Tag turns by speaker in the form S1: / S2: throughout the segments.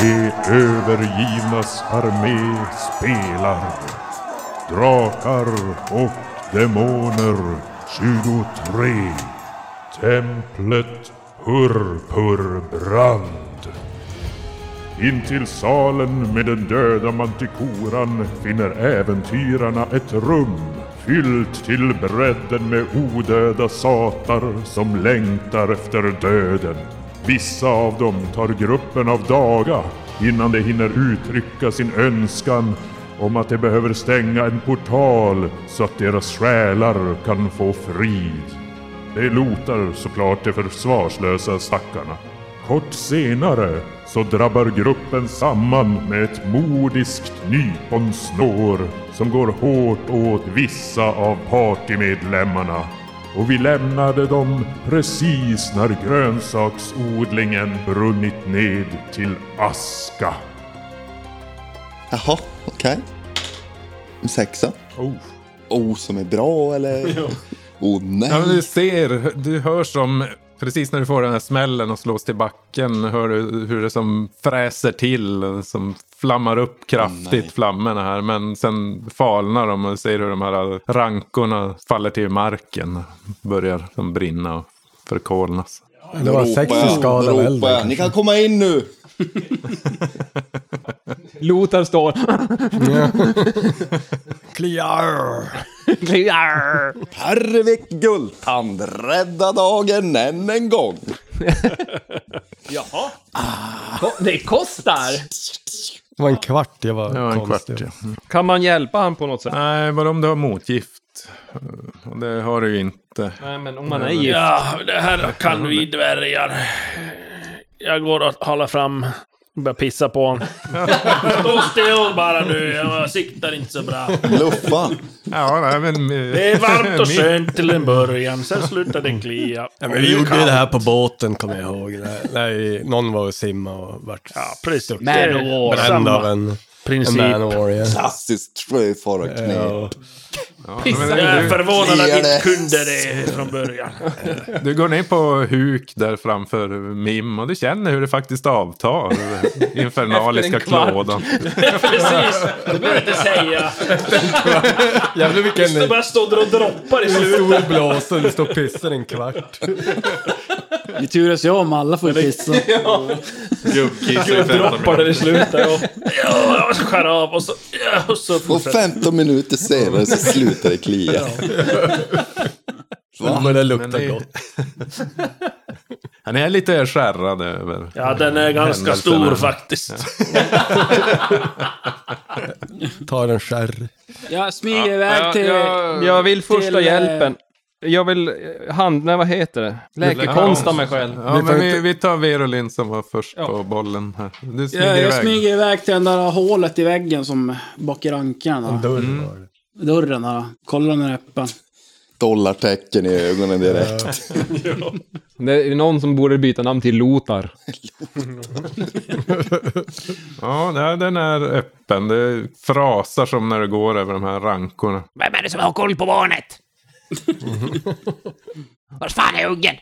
S1: De övergivnas armé spelar. Drakar och demoner 23. Templet Purpurbrand. Intill salen med den döda mantikoran finner äventyrarna ett rum fyllt till bredden med odöda satar som längtar efter döden. Vissa av dem tar gruppen av daga innan de hinner uttrycka sin önskan om att de behöver stänga en portal så att deras själar kan få frid. Det lotar såklart de försvarslösa stackarna. Kort senare så drabbar gruppen samman med ett modiskt nyponsnår som går hårt åt vissa av partymedlemmarna. Och vi lämnade dem precis när grönsaksodlingen brunnit ned till aska.
S2: Jaha, okej. En Sexa.
S3: Oh.
S2: O som är bra eller? Oh
S3: Ja, men du
S2: nej.
S3: ser, du hör som, precis när du får den här smällen och slås till backen, hör du hur det som fräser till, som flammar upp kraftigt,
S2: nej.
S3: flammorna här. Men sen falnar de och du ser hur de här rankorna faller till marken, börjar som brinna och förkolnas.
S4: Det var sex i skalan
S2: ropar
S4: eller?
S2: jag. Ni kan komma in nu.
S5: Lotar står...
S4: Kliar!
S5: Kliar!
S2: Hervik Guldtand, rädda dagen än en gång.
S5: Jaha.
S6: Ah,
S5: Ko- Det kostar!
S4: Det var en kvart jag var
S3: Det var en kvart,
S4: konstig.
S3: ja.
S5: Kan man hjälpa han på något sätt?
S3: Nej, bara om du har motgift. Och det har du ju inte.
S5: Nej, men om man är gift.
S7: Ja, det här kan vi dvärgar. Jag går och håller fram. Börjar pissa på honom. Stå still bara nu, jag siktar inte så bra.
S2: Luffa.
S3: Ja, nej, men...
S7: Det är varmt och skönt till en början, sen slutar det klia.
S4: Ja, men vi gjorde ju det här på båten kommer jag ihåg. När, när någon var och simma och vart
S7: Ja, precis.
S4: stucken.
S7: Det är
S5: Manowar.
S4: bränd av
S7: samma
S4: en, en
S7: princip.
S4: manowar. Ja.
S2: Klassiskt sjöfararknep.
S4: Ja.
S3: men
S7: Jag är förvånad att
S2: Kliar
S7: ni inte
S2: det.
S7: kunde det från början.
S3: Du går ner på huk där framför Mim och du känner hur det faktiskt avtar. den Infernaliska
S5: Efter en kvart.
S3: klådan.
S7: Precis, det behöver jag inte säga.
S4: Jävlar
S7: Det
S4: vilken
S7: bara står och droppar i slutet.
S4: stor blåsa du står och pissar en kvart.
S6: Vi turas ju om, alla får ju pissa.
S3: Gubbkiss i 15
S5: Droppade det i slutet. ja.
S7: Ja, och så skär av och så... ja, Och så
S2: Och
S7: fortsätter.
S2: 15 minuter senare så slutar det klia.
S4: Men det luktar
S3: det-
S4: gott.
S3: Han är lite skärrad över.
S7: Ja, den är ganska
S3: Händelsen
S7: stor
S3: här.
S7: faktiskt.
S4: Tar en skärr.
S6: Jag smyger iväg till...
S3: jag-
S5: Jag vill
S6: Till,
S5: första
S6: eh,
S5: hjälpen. Jag vill... eh, Hand... Nej, vad heter det? Läkekonsta mig själv.
S3: Ja,
S4: Vi får
S3: men vi, vi tar Verolin som var först på bollen här. Du smyger
S6: Jag, jag
S3: iväg.
S6: smyger iväg till det där hålet i väggen som bak i rankan. där.
S4: Dörr
S7: Mm.
S4: var det.
S6: Dörren här. Kolla om den är öppen.
S2: Dollartecken i ögonen direkt.
S5: Det är någon som borde byta namn till Lotar.
S3: Ja, nej, den är öppen. Det frasar som när du går över de här rankorna.
S8: Vem är det som har koll på barnet? Var fan är ungen?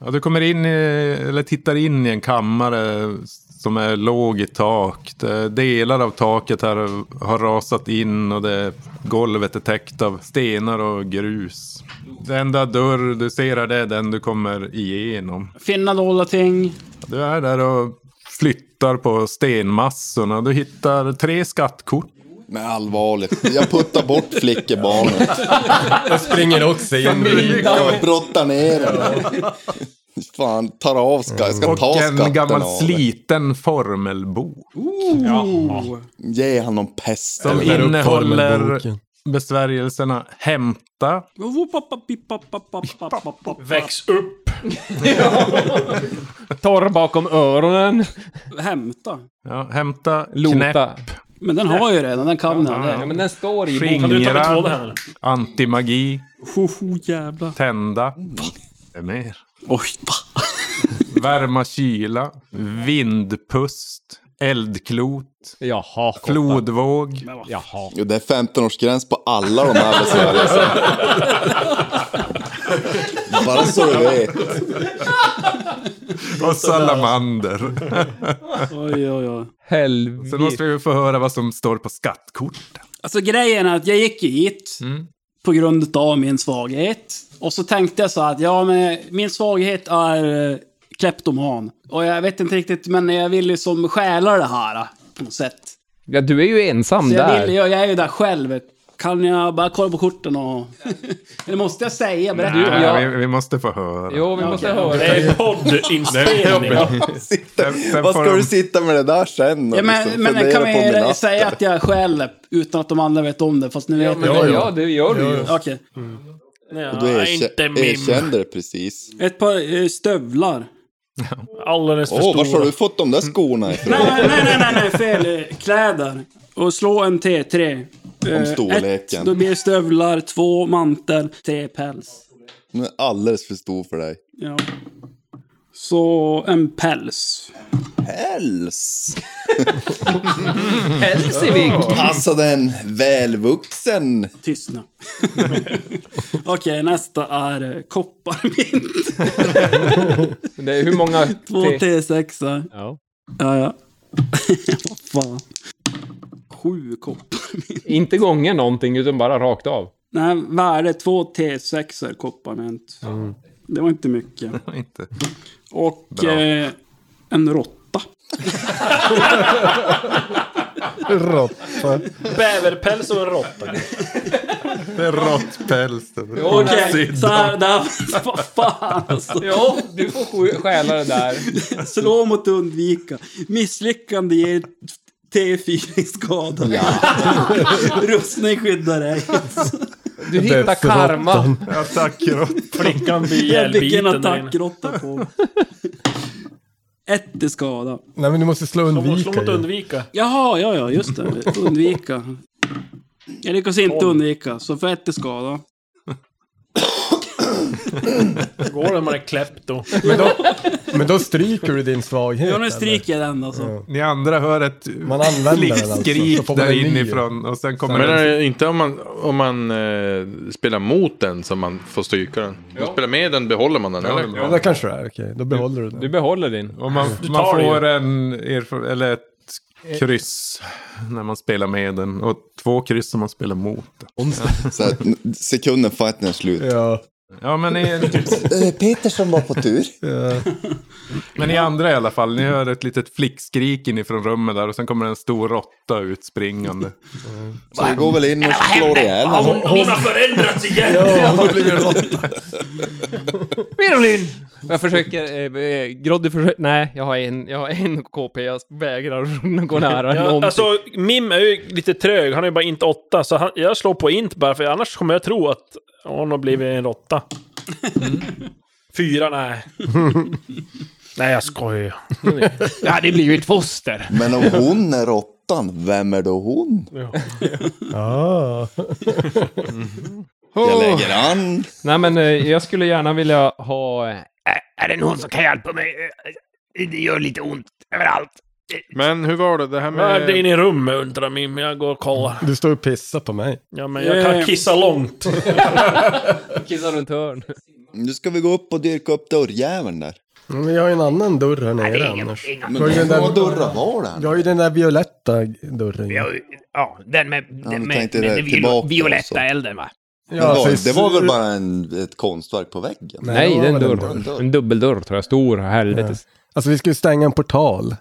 S3: Ja, du kommer in i, eller tittar in i en kammare som är låg i tak. Det- Delar av taket här har rasat in och det, golvet är täckt av stenar och grus. Den enda dörr du ser här det är den du kommer igenom.
S6: Finna dolda ting.
S3: Du är där och flyttar på stenmassorna. Du hittar tre skattkort.
S2: Men allvarligt, jag puttar bort flickebarnet.
S4: Jag springer också in.
S2: Jag brottar ner den. Fan, tar av skatten. Jag ska ta
S3: Mm. Och en
S2: skatten
S3: gammal
S2: av den.
S3: sliten formelbok.
S2: Ge han någon pest.
S3: Som
S4: Eller upp
S3: innehåller
S4: formelboken.
S3: besvärjelserna hämta,
S7: Väx upp.
S5: Torr bakom öronen.
S6: Hämta.
S3: Ja, hämta, knäpp,
S5: Lota.
S6: Men den har ju redan, den kan den.
S5: Ja, men den står i boken.
S7: Kan du ta med två det
S3: skingra,
S7: här?
S3: antimagi,
S6: Hoho jävlar.
S3: tända. Det är mer.
S6: Oj, va?
S3: Värma kyla, vindpust, eldklot,
S5: Jaha.
S3: flodvåg.
S5: Jaha.
S2: Jo, det är 15-årsgräns på alla de här besvärjelserna. Bara så du vet.
S3: Och salamander.
S6: Oj, oj, oj.
S3: Sen
S5: Helvete.
S3: måste vi ju få höra vad som står på skattkorten.
S6: Alltså grejen är att jag gick ju hit
S3: Mm.
S6: på grund av min svaghet. Och så tänkte jag så här att ja, men min svaghet är eh, kleptoman. Och jag vet inte riktigt, men jag vill ju som stjäla det här eh, på något sätt.
S5: Ja, du är ju ensam
S6: Så jag,
S5: där.
S6: vill, jag, jag är ju där själv. Kan jag bara kolla på korten och... Eller måste jag säga? Berätta.
S5: Nej.
S3: Ja,
S5: Ja.
S3: vi, vi måste få höra.
S5: Jo, vi måste höra.
S7: Det är poddinspelning.
S2: Sitta,
S3: Sen- sen
S2: vad
S3: får
S2: ska
S3: de-
S2: du sitta med det där sen? och
S6: Ja, men,
S2: liksom
S6: men
S2: fundera
S6: kan
S2: på
S6: vi
S2: midnatt?
S6: säga att jag skäller utan att de andra vet om det? Fast nu
S5: Ja,
S6: vet
S5: men,
S6: jag.
S5: ja, det gör du ju.
S6: Okej.
S7: Mm. Ja,
S2: Du
S7: inte
S2: erkä-
S7: min.
S2: erkände det precis.
S6: Ett par eh, stövlar.
S7: Alldeles för
S2: Åh, var har
S7: stora.
S2: du fått de
S3: Mm.
S2: där skorna ifrån?
S6: Nej, nej, nej, nej, nej, fel. eh, Kläder. Och slå en T3. Eh,
S2: Om storleken.
S6: Ett, då blir det stövlar, två mantel, tre päls.
S2: Den är alldeles för stor för dig.
S6: Ja. Så en päls.
S2: Päls!
S5: Hälsivik.
S2: Alltså den välvuxen.
S6: Tystna. Okej, nästa är eh, kopparmynt.
S5: Det är hur många?
S6: Två
S5: T-
S6: T6. -ar.
S5: Ja.
S6: Ja, ja. Vad fan. Sju kopparmynt.
S5: Inte gånger någonting, utan bara rakt av.
S6: Nej, värde två T6 -ar kopparmynt. Det var inte mycket.
S3: Inte.
S6: Och eh, en råtta.
S4: Råtta.
S7: Bäverpäls och en råtta.
S3: Det är råttpäls.
S6: Okej, så här, där, vad fan alltså.
S5: Ja, du får sj- stjäla det där.
S6: Slå mot undvika. Misslyckande ger T4 i skada. Rustning skyddar dig.
S5: Du hittar karma.
S3: Attacker.
S7: Flickan blir
S6: Jag fick en
S7: ihjälbiten. där inne.
S6: attackråtta på mig. Ett i skada.
S4: Nej men du måste slå
S7: De måste
S4: undvika
S7: mot
S4: ju.
S7: undvika.
S6: Jaha, ja, ja, just det. Undvika. Jag lyckas inte undvika, så för ett i skada.
S7: Hur går det när man är klepto?
S4: Men då, men då stryker du din svaghet.
S6: Ja, nu
S4: eller?
S6: stryker jag den alltså.
S3: Ni andra hör ett
S4: Man använder den alltså.
S3: skrik
S4: så får man
S3: där
S4: en ny.
S3: inifrån och sen kommer
S9: Men är
S3: det...
S9: det inte om man, om man eh, spelar mot den som man får stryka den? Om man spelar med den behåller man den, eller?
S4: Ja, det kanske det är. Okej, då behåller du den.
S5: Du behåller din.
S3: Och man, man
S7: tar det ju.
S3: får en erfar- eller ett kryss när man spelar med den och två kryss om man spelar mot den.
S2: Så att n- sekunden fighten är slut.
S4: Ja.
S3: Ja, men ni,
S2: Eh, Petersson var på tur.
S3: men ni andra i alla fall, ni hör ett litet flickskrik inifrån rummet där och sen kommer en stor råtta utspringande.
S2: Så vi går väl in och slår ihjäl honom.
S7: Hon, hon har förändrats igen!
S5: Mirolin! Jag försöker... Eh, eh, Groddy försöker... Nej, jag har en, jag har en KP. Jag vägrar att gå nära
S7: Ja,
S5: någonting.
S7: alltså, Mim är ju lite trög. Han är ju bara inte åtta. Så han, jag slår på int bara, för annars kommer jag tro att hon har blivit en råtta. Fyra, nej. nej, jag skojar
S5: Jag hade blivit foster.
S2: Men om hon är råttan, vem är då hon?
S4: Ah.
S2: Jag lägger an.
S5: Nej, men eh, jag skulle gärna vilja ha... eh,
S8: Är det någon som kan hjälpa mig? Eh, Det gör lite ont överallt.
S9: Men hur var det? Det här
S7: Vad är det
S9: med...
S7: inne i rummet undrar Mim. Jag går och kollar.
S4: Du står och pissar på mig.
S7: Ja, men jag kan
S6: Eh.
S7: kissa långt.
S5: Kissa runt hörn.
S2: Nu ska vi gå upp och dyrka upp dörrjäveln där.
S4: Ja, Mm, Men jag har ju en annan dörr här nere annars.
S2: Men
S4: Var det den där-
S2: vad dörrar var det?
S4: Jag har ju den där violetta dörren.
S8: Ja, ja, den med,
S2: du
S8: den med,
S2: tänkte
S8: med
S2: det
S8: den
S2: tillbaka
S8: viol-
S2: alltså.
S8: violetta elden va?
S2: Det var,
S4: precis.
S2: det var väl bara en, ett konstverk på väggen?
S5: Nej, det är en
S4: var den
S5: dörr. En dubbeldörr tror jag. Stor, helvetes.
S4: Alltså vi ska ju stänga en portal.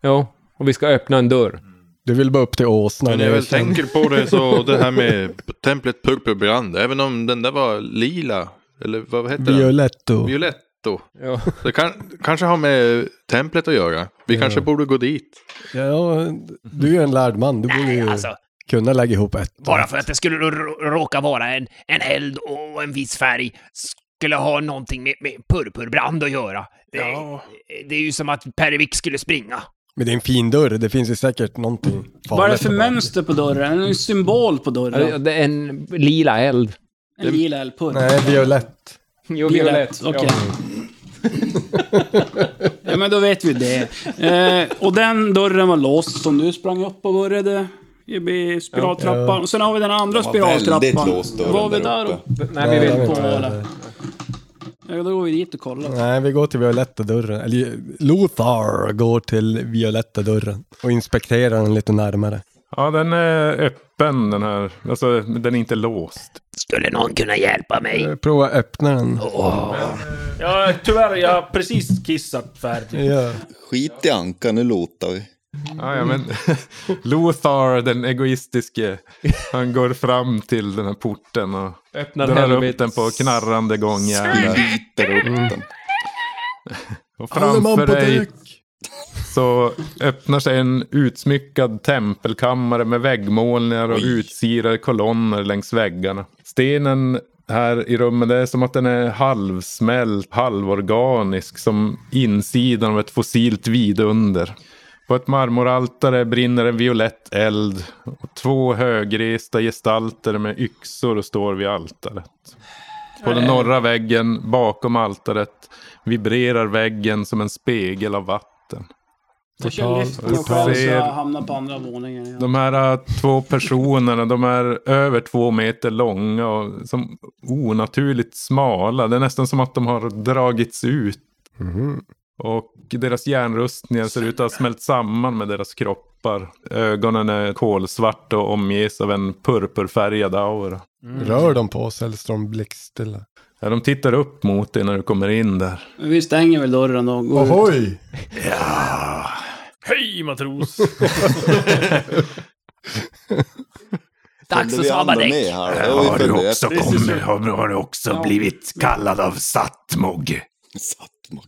S5: Ja, och vi ska öppna en dörr.
S4: Du vill bara upp till åsnan.
S9: Men när jag
S4: Det är
S9: väl
S4: sen-
S9: tänker på det så det här med templet Purpurbrand, även om den där var lila, eller vad hette den?
S4: Violetto.
S9: Violetto.
S5: Ja.
S9: Det kan, kanske har med templet att göra. Vi kanske borde gå dit.
S4: Ja, du är ju en lärd man. Du borde
S8: Nej,
S4: ju
S8: alltså.
S4: kunna lägga ihop ett.
S8: Bara för att det skulle rå- råka vara en, en eld och en viss färg skulle ha någonting med, med purpurbrand att göra. Det, det är ju som att Pervik skulle springa.
S4: Men det är en fin dörr. Det finns ju säkert någonting
S6: Vad är det för
S4: på den.
S6: mönster på dörren? En symbol på dörren?
S5: Det är en lila eld.
S6: En lila eller purr?
S4: Nej, violett.
S5: Jo,
S6: Violett, okej. ja, men då vet vi det. Eh, och den dörren var låst som du sprang upp och började i spiraltrappan. Och sen har vi den andra
S2: Den var väldigt
S6: spiraltrappan.
S2: låst dörren
S6: Var vi där
S2: där uppe.
S6: uppe?
S5: Nej, vi
S4: Nej,
S5: vill
S6: På,
S5: på...
S6: eller? Ja, då går vi dit och kollar.
S4: Nej, vi går till Violetta dörren. Eller Lothar går till Violetta dörren och inspekterar den lite närmare.
S3: Ja, den är öppen den här. Alltså, den är inte låst. Eh,
S8: Skulle någon kunna hjälpa mig?
S4: Jag provar öppna den.
S7: Ja, tyvärr, jag har precis kissat färdigt.
S4: Ja.
S2: Skit i Anka, nu lotar vi.
S3: Ja, ja, men Lothar, den egoistiske, han går fram till den här porten och
S5: Öppnar
S3: drar upp
S5: helvetet.
S3: den på knarrande gångjärn.
S2: Biter upp den.
S3: Och framför dig så öppnar sig en utsmyckad tempelkammare med väggmålningar och utsirade kolonner längs väggarna. Stenen här i rummet, det är som att den är halvsmält, halvorganisk, som insidan av ett fossilt vidunder. På ett marmoraltare brinner en violett eld och två högresta gestalter med yxor står vid altaret. På den norra väggen bakom altaret vibrerar väggen som en spegel av vatten.
S6: Jag kör liften
S3: Portal.
S6: själv så jag
S3: Ser-
S6: hamnar på andra våningen. Ja.
S3: De här äh, två personerna, de är över två meter långa och som onaturligt smala. Det är nästan som att de har dragits ut. Och deras järnrustningar ser ut att ha smält samman med deras kroppar. Ögonen är kolsvarta och omges av en purpurfärgad aura.
S5: Mm.
S4: Rör de på sig eller står de blickstilla?
S3: Ja, de tittar upp mot dig när du kommer in där.
S6: Men Vi stänger väl dörren och går ut.
S4: Ohoj!
S7: Ah. Hej matros!
S8: Dags
S2: Följde
S8: att
S2: vi andra
S8: sabba däck.
S2: med här? Det var ju följde efter.
S9: kommit, har, har du också blivit kallad av Sattmog?
S2: Sattmag.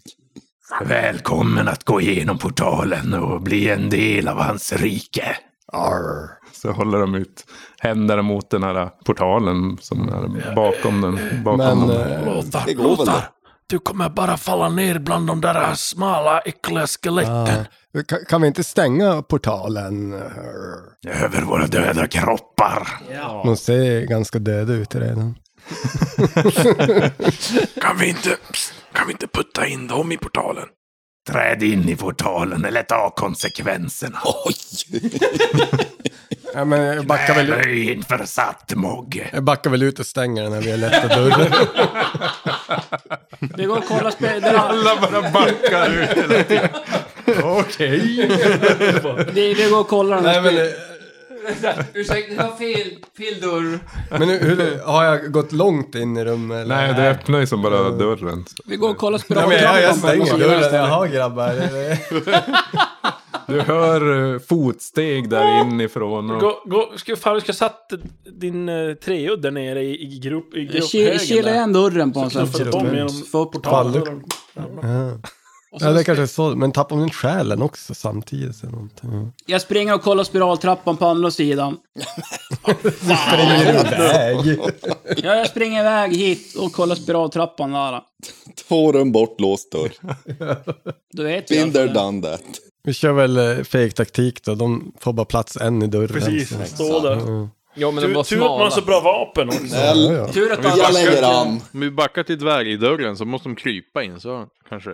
S9: Välkommen att gå igenom portalen och bli en del av hans rike. Arr.
S3: Så håller de ut händerna mot den här portalen som är bakom den. Bakom
S4: Men
S3: dem.
S4: eh,
S2: Det
S7: Lothar,
S2: går väl det.
S7: Lothar! Du kommer bara falla ner bland de där smala, äckliga skeletten.
S4: ah, kan, kan vi inte stänga portalen? Arr.
S9: Över våra döda kroppar.
S4: De ser ganska döda ut redan.
S9: Kan vi inte, kan vi inte putta in dem i portalen? Träd in i portalen eller ta konsekvenserna.
S2: Oj!
S4: Ja, men jag backar väl ut.
S9: Böj inför Sattmog.
S4: Jag backar väl ut och stänger den här violetta dörren.
S6: Vi går och kollar spe- det,
S3: Alla bara backar ut hela tiden. Okej.
S6: vi, vi går och kollar den
S4: Nej,
S6: här
S4: men,
S6: spe-
S4: eh,
S5: Ursäkta, det var fel, fel dörr.
S4: men hur, hur, har jag gått långt in i rummet? Eller?
S3: Nej, det öppnar ju som bara dörren.
S6: Vi går och kollar
S4: Ja, men jag, jag stänger dörren.
S6: istället.
S4: Jaha grabbar. det- det-
S3: Du hör eh, fotsteg där inifrån. Och
S7: Gå, gå, ska, fan, du ska satt din uh, treudd där nere i, i grupp, i
S6: Jag ki-
S7: grupphögen
S6: kilar
S7: där.
S6: igen dörren på en sån
S7: Knuffade
S6: här
S7: dem
S6: typ
S7: genom
S6: Få upp
S7: portalen.
S4: Ja, det kanske är så. Men tappar man inte själen också samtidigt? Eller någonting? Mm.
S6: Jag springer och kollar spiraltrappan på andra sidan.
S4: Väg.
S6: Ja, jag springer iväg hit och kollar spiraltrappan där.
S2: Två rum bort, låst dörr.
S6: Du vet
S2: Been there,
S6: ju.
S5: alltså.
S2: done that.
S4: Vi kör väl eh, feg taktik då. De får bara plats en i dörren.
S7: Precis, stå där.
S4: Mm.
S5: Ja, men de
S7: Tur
S5: var
S7: tur att man har
S5: smala.
S7: så bra vapen också.
S4: Ja, ja.
S6: Tur att,
S2: Jag
S6: alla,
S2: lägger an.
S9: Om vi backar till dvärgdörren så måste de krypa in så kanske.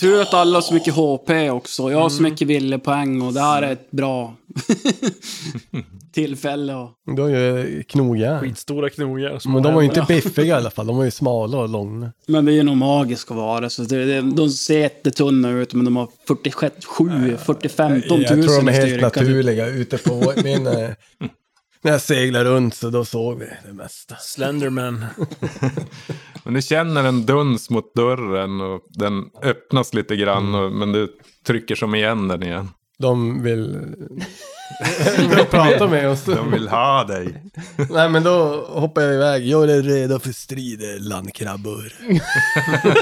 S6: tur att alla har så mycket HP också. Jag har
S4: Mm.
S6: så mycket viljepoäng och det här är ett bra tillfälle. Och...
S4: Du har ju eh, knogjärn.
S7: Skitstora knogar. små
S4: Men de var ju
S7: händer.
S4: inte biffiga i alla fall. De var ju smala och långa.
S6: Men det är ju nog magiska varor. Så det, det, de ser jättetunna ut men de har 46, 7, 45 000
S4: jag tror de är
S6: i
S4: helt
S6: styrka, typ.
S4: naturliga. Ute på min... eh, När jag seglar runt så då såg vi det mesta.
S7: Slenderman.
S3: Men du känner en duns mot dörren och den öppnas lite grann.
S9: Mm.
S3: Och, men du trycker som igen den igen.
S4: De vill... De vill prata med oss.
S3: De vill ha dig.
S4: Nej men då hoppar jag iväg. Jag är redo för strider, landkrabbor.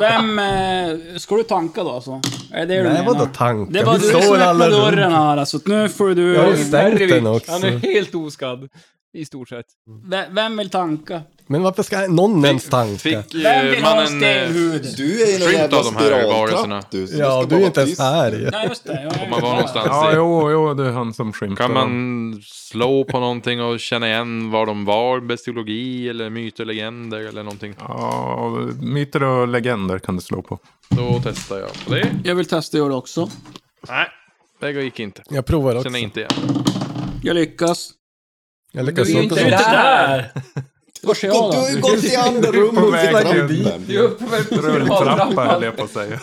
S6: Vem... Eh, ska du tanka då alltså? Är det det du
S4: Nej
S6: menar?
S4: vadå tankar?
S6: Det var du som öppnade dörren här alltså. Nu får du...
S4: Jag har ju stängt den
S5: Han
S4: också. Mm.
S5: är helt oskadd. I stort sett.
S6: V- Vem vill tanka?
S4: Men varför ska någon ens tanka?
S9: Fick
S6: Vem vill
S9: eh,
S6: ha
S9: mannen... eh,
S6: stenhud?
S2: Du är ju någon
S9: Skit av
S2: jävla
S9: de här varelserna.
S2: spiraltrapp du. så
S4: Ja,
S2: ska
S4: du är
S2: bara
S4: inte ens
S2: tyst.
S4: här ju.
S6: Nej, just det. Jag
S9: Om man var någonstans
S3: Ja,
S9: i.
S3: jo, jo, det är han som skymtar.
S9: Kan
S3: dem.
S9: man slå på någonting och känna igen var de var? Bestiologi eller myter, legender eller någonting?
S3: Ja, myter och legender kan du slå på.
S9: Då testar jag på det.
S6: Jag vill testa att göra det också.
S9: Nej, det gick inte.
S4: Jag provar också.
S9: Känner inte igen.
S6: Jag lyckas.
S4: Jag lyckas
S5: Du är
S4: inte
S5: inte
S4: så.
S5: där.
S7: Där!
S6: Vart är jag
S2: Du har ju gått i
S3: På
S2: andra rummet
S3: väg
S2: till
S3: till-
S2: trappen.
S5: Du är uppe med
S3: Rulltrappa höll jag på att säga.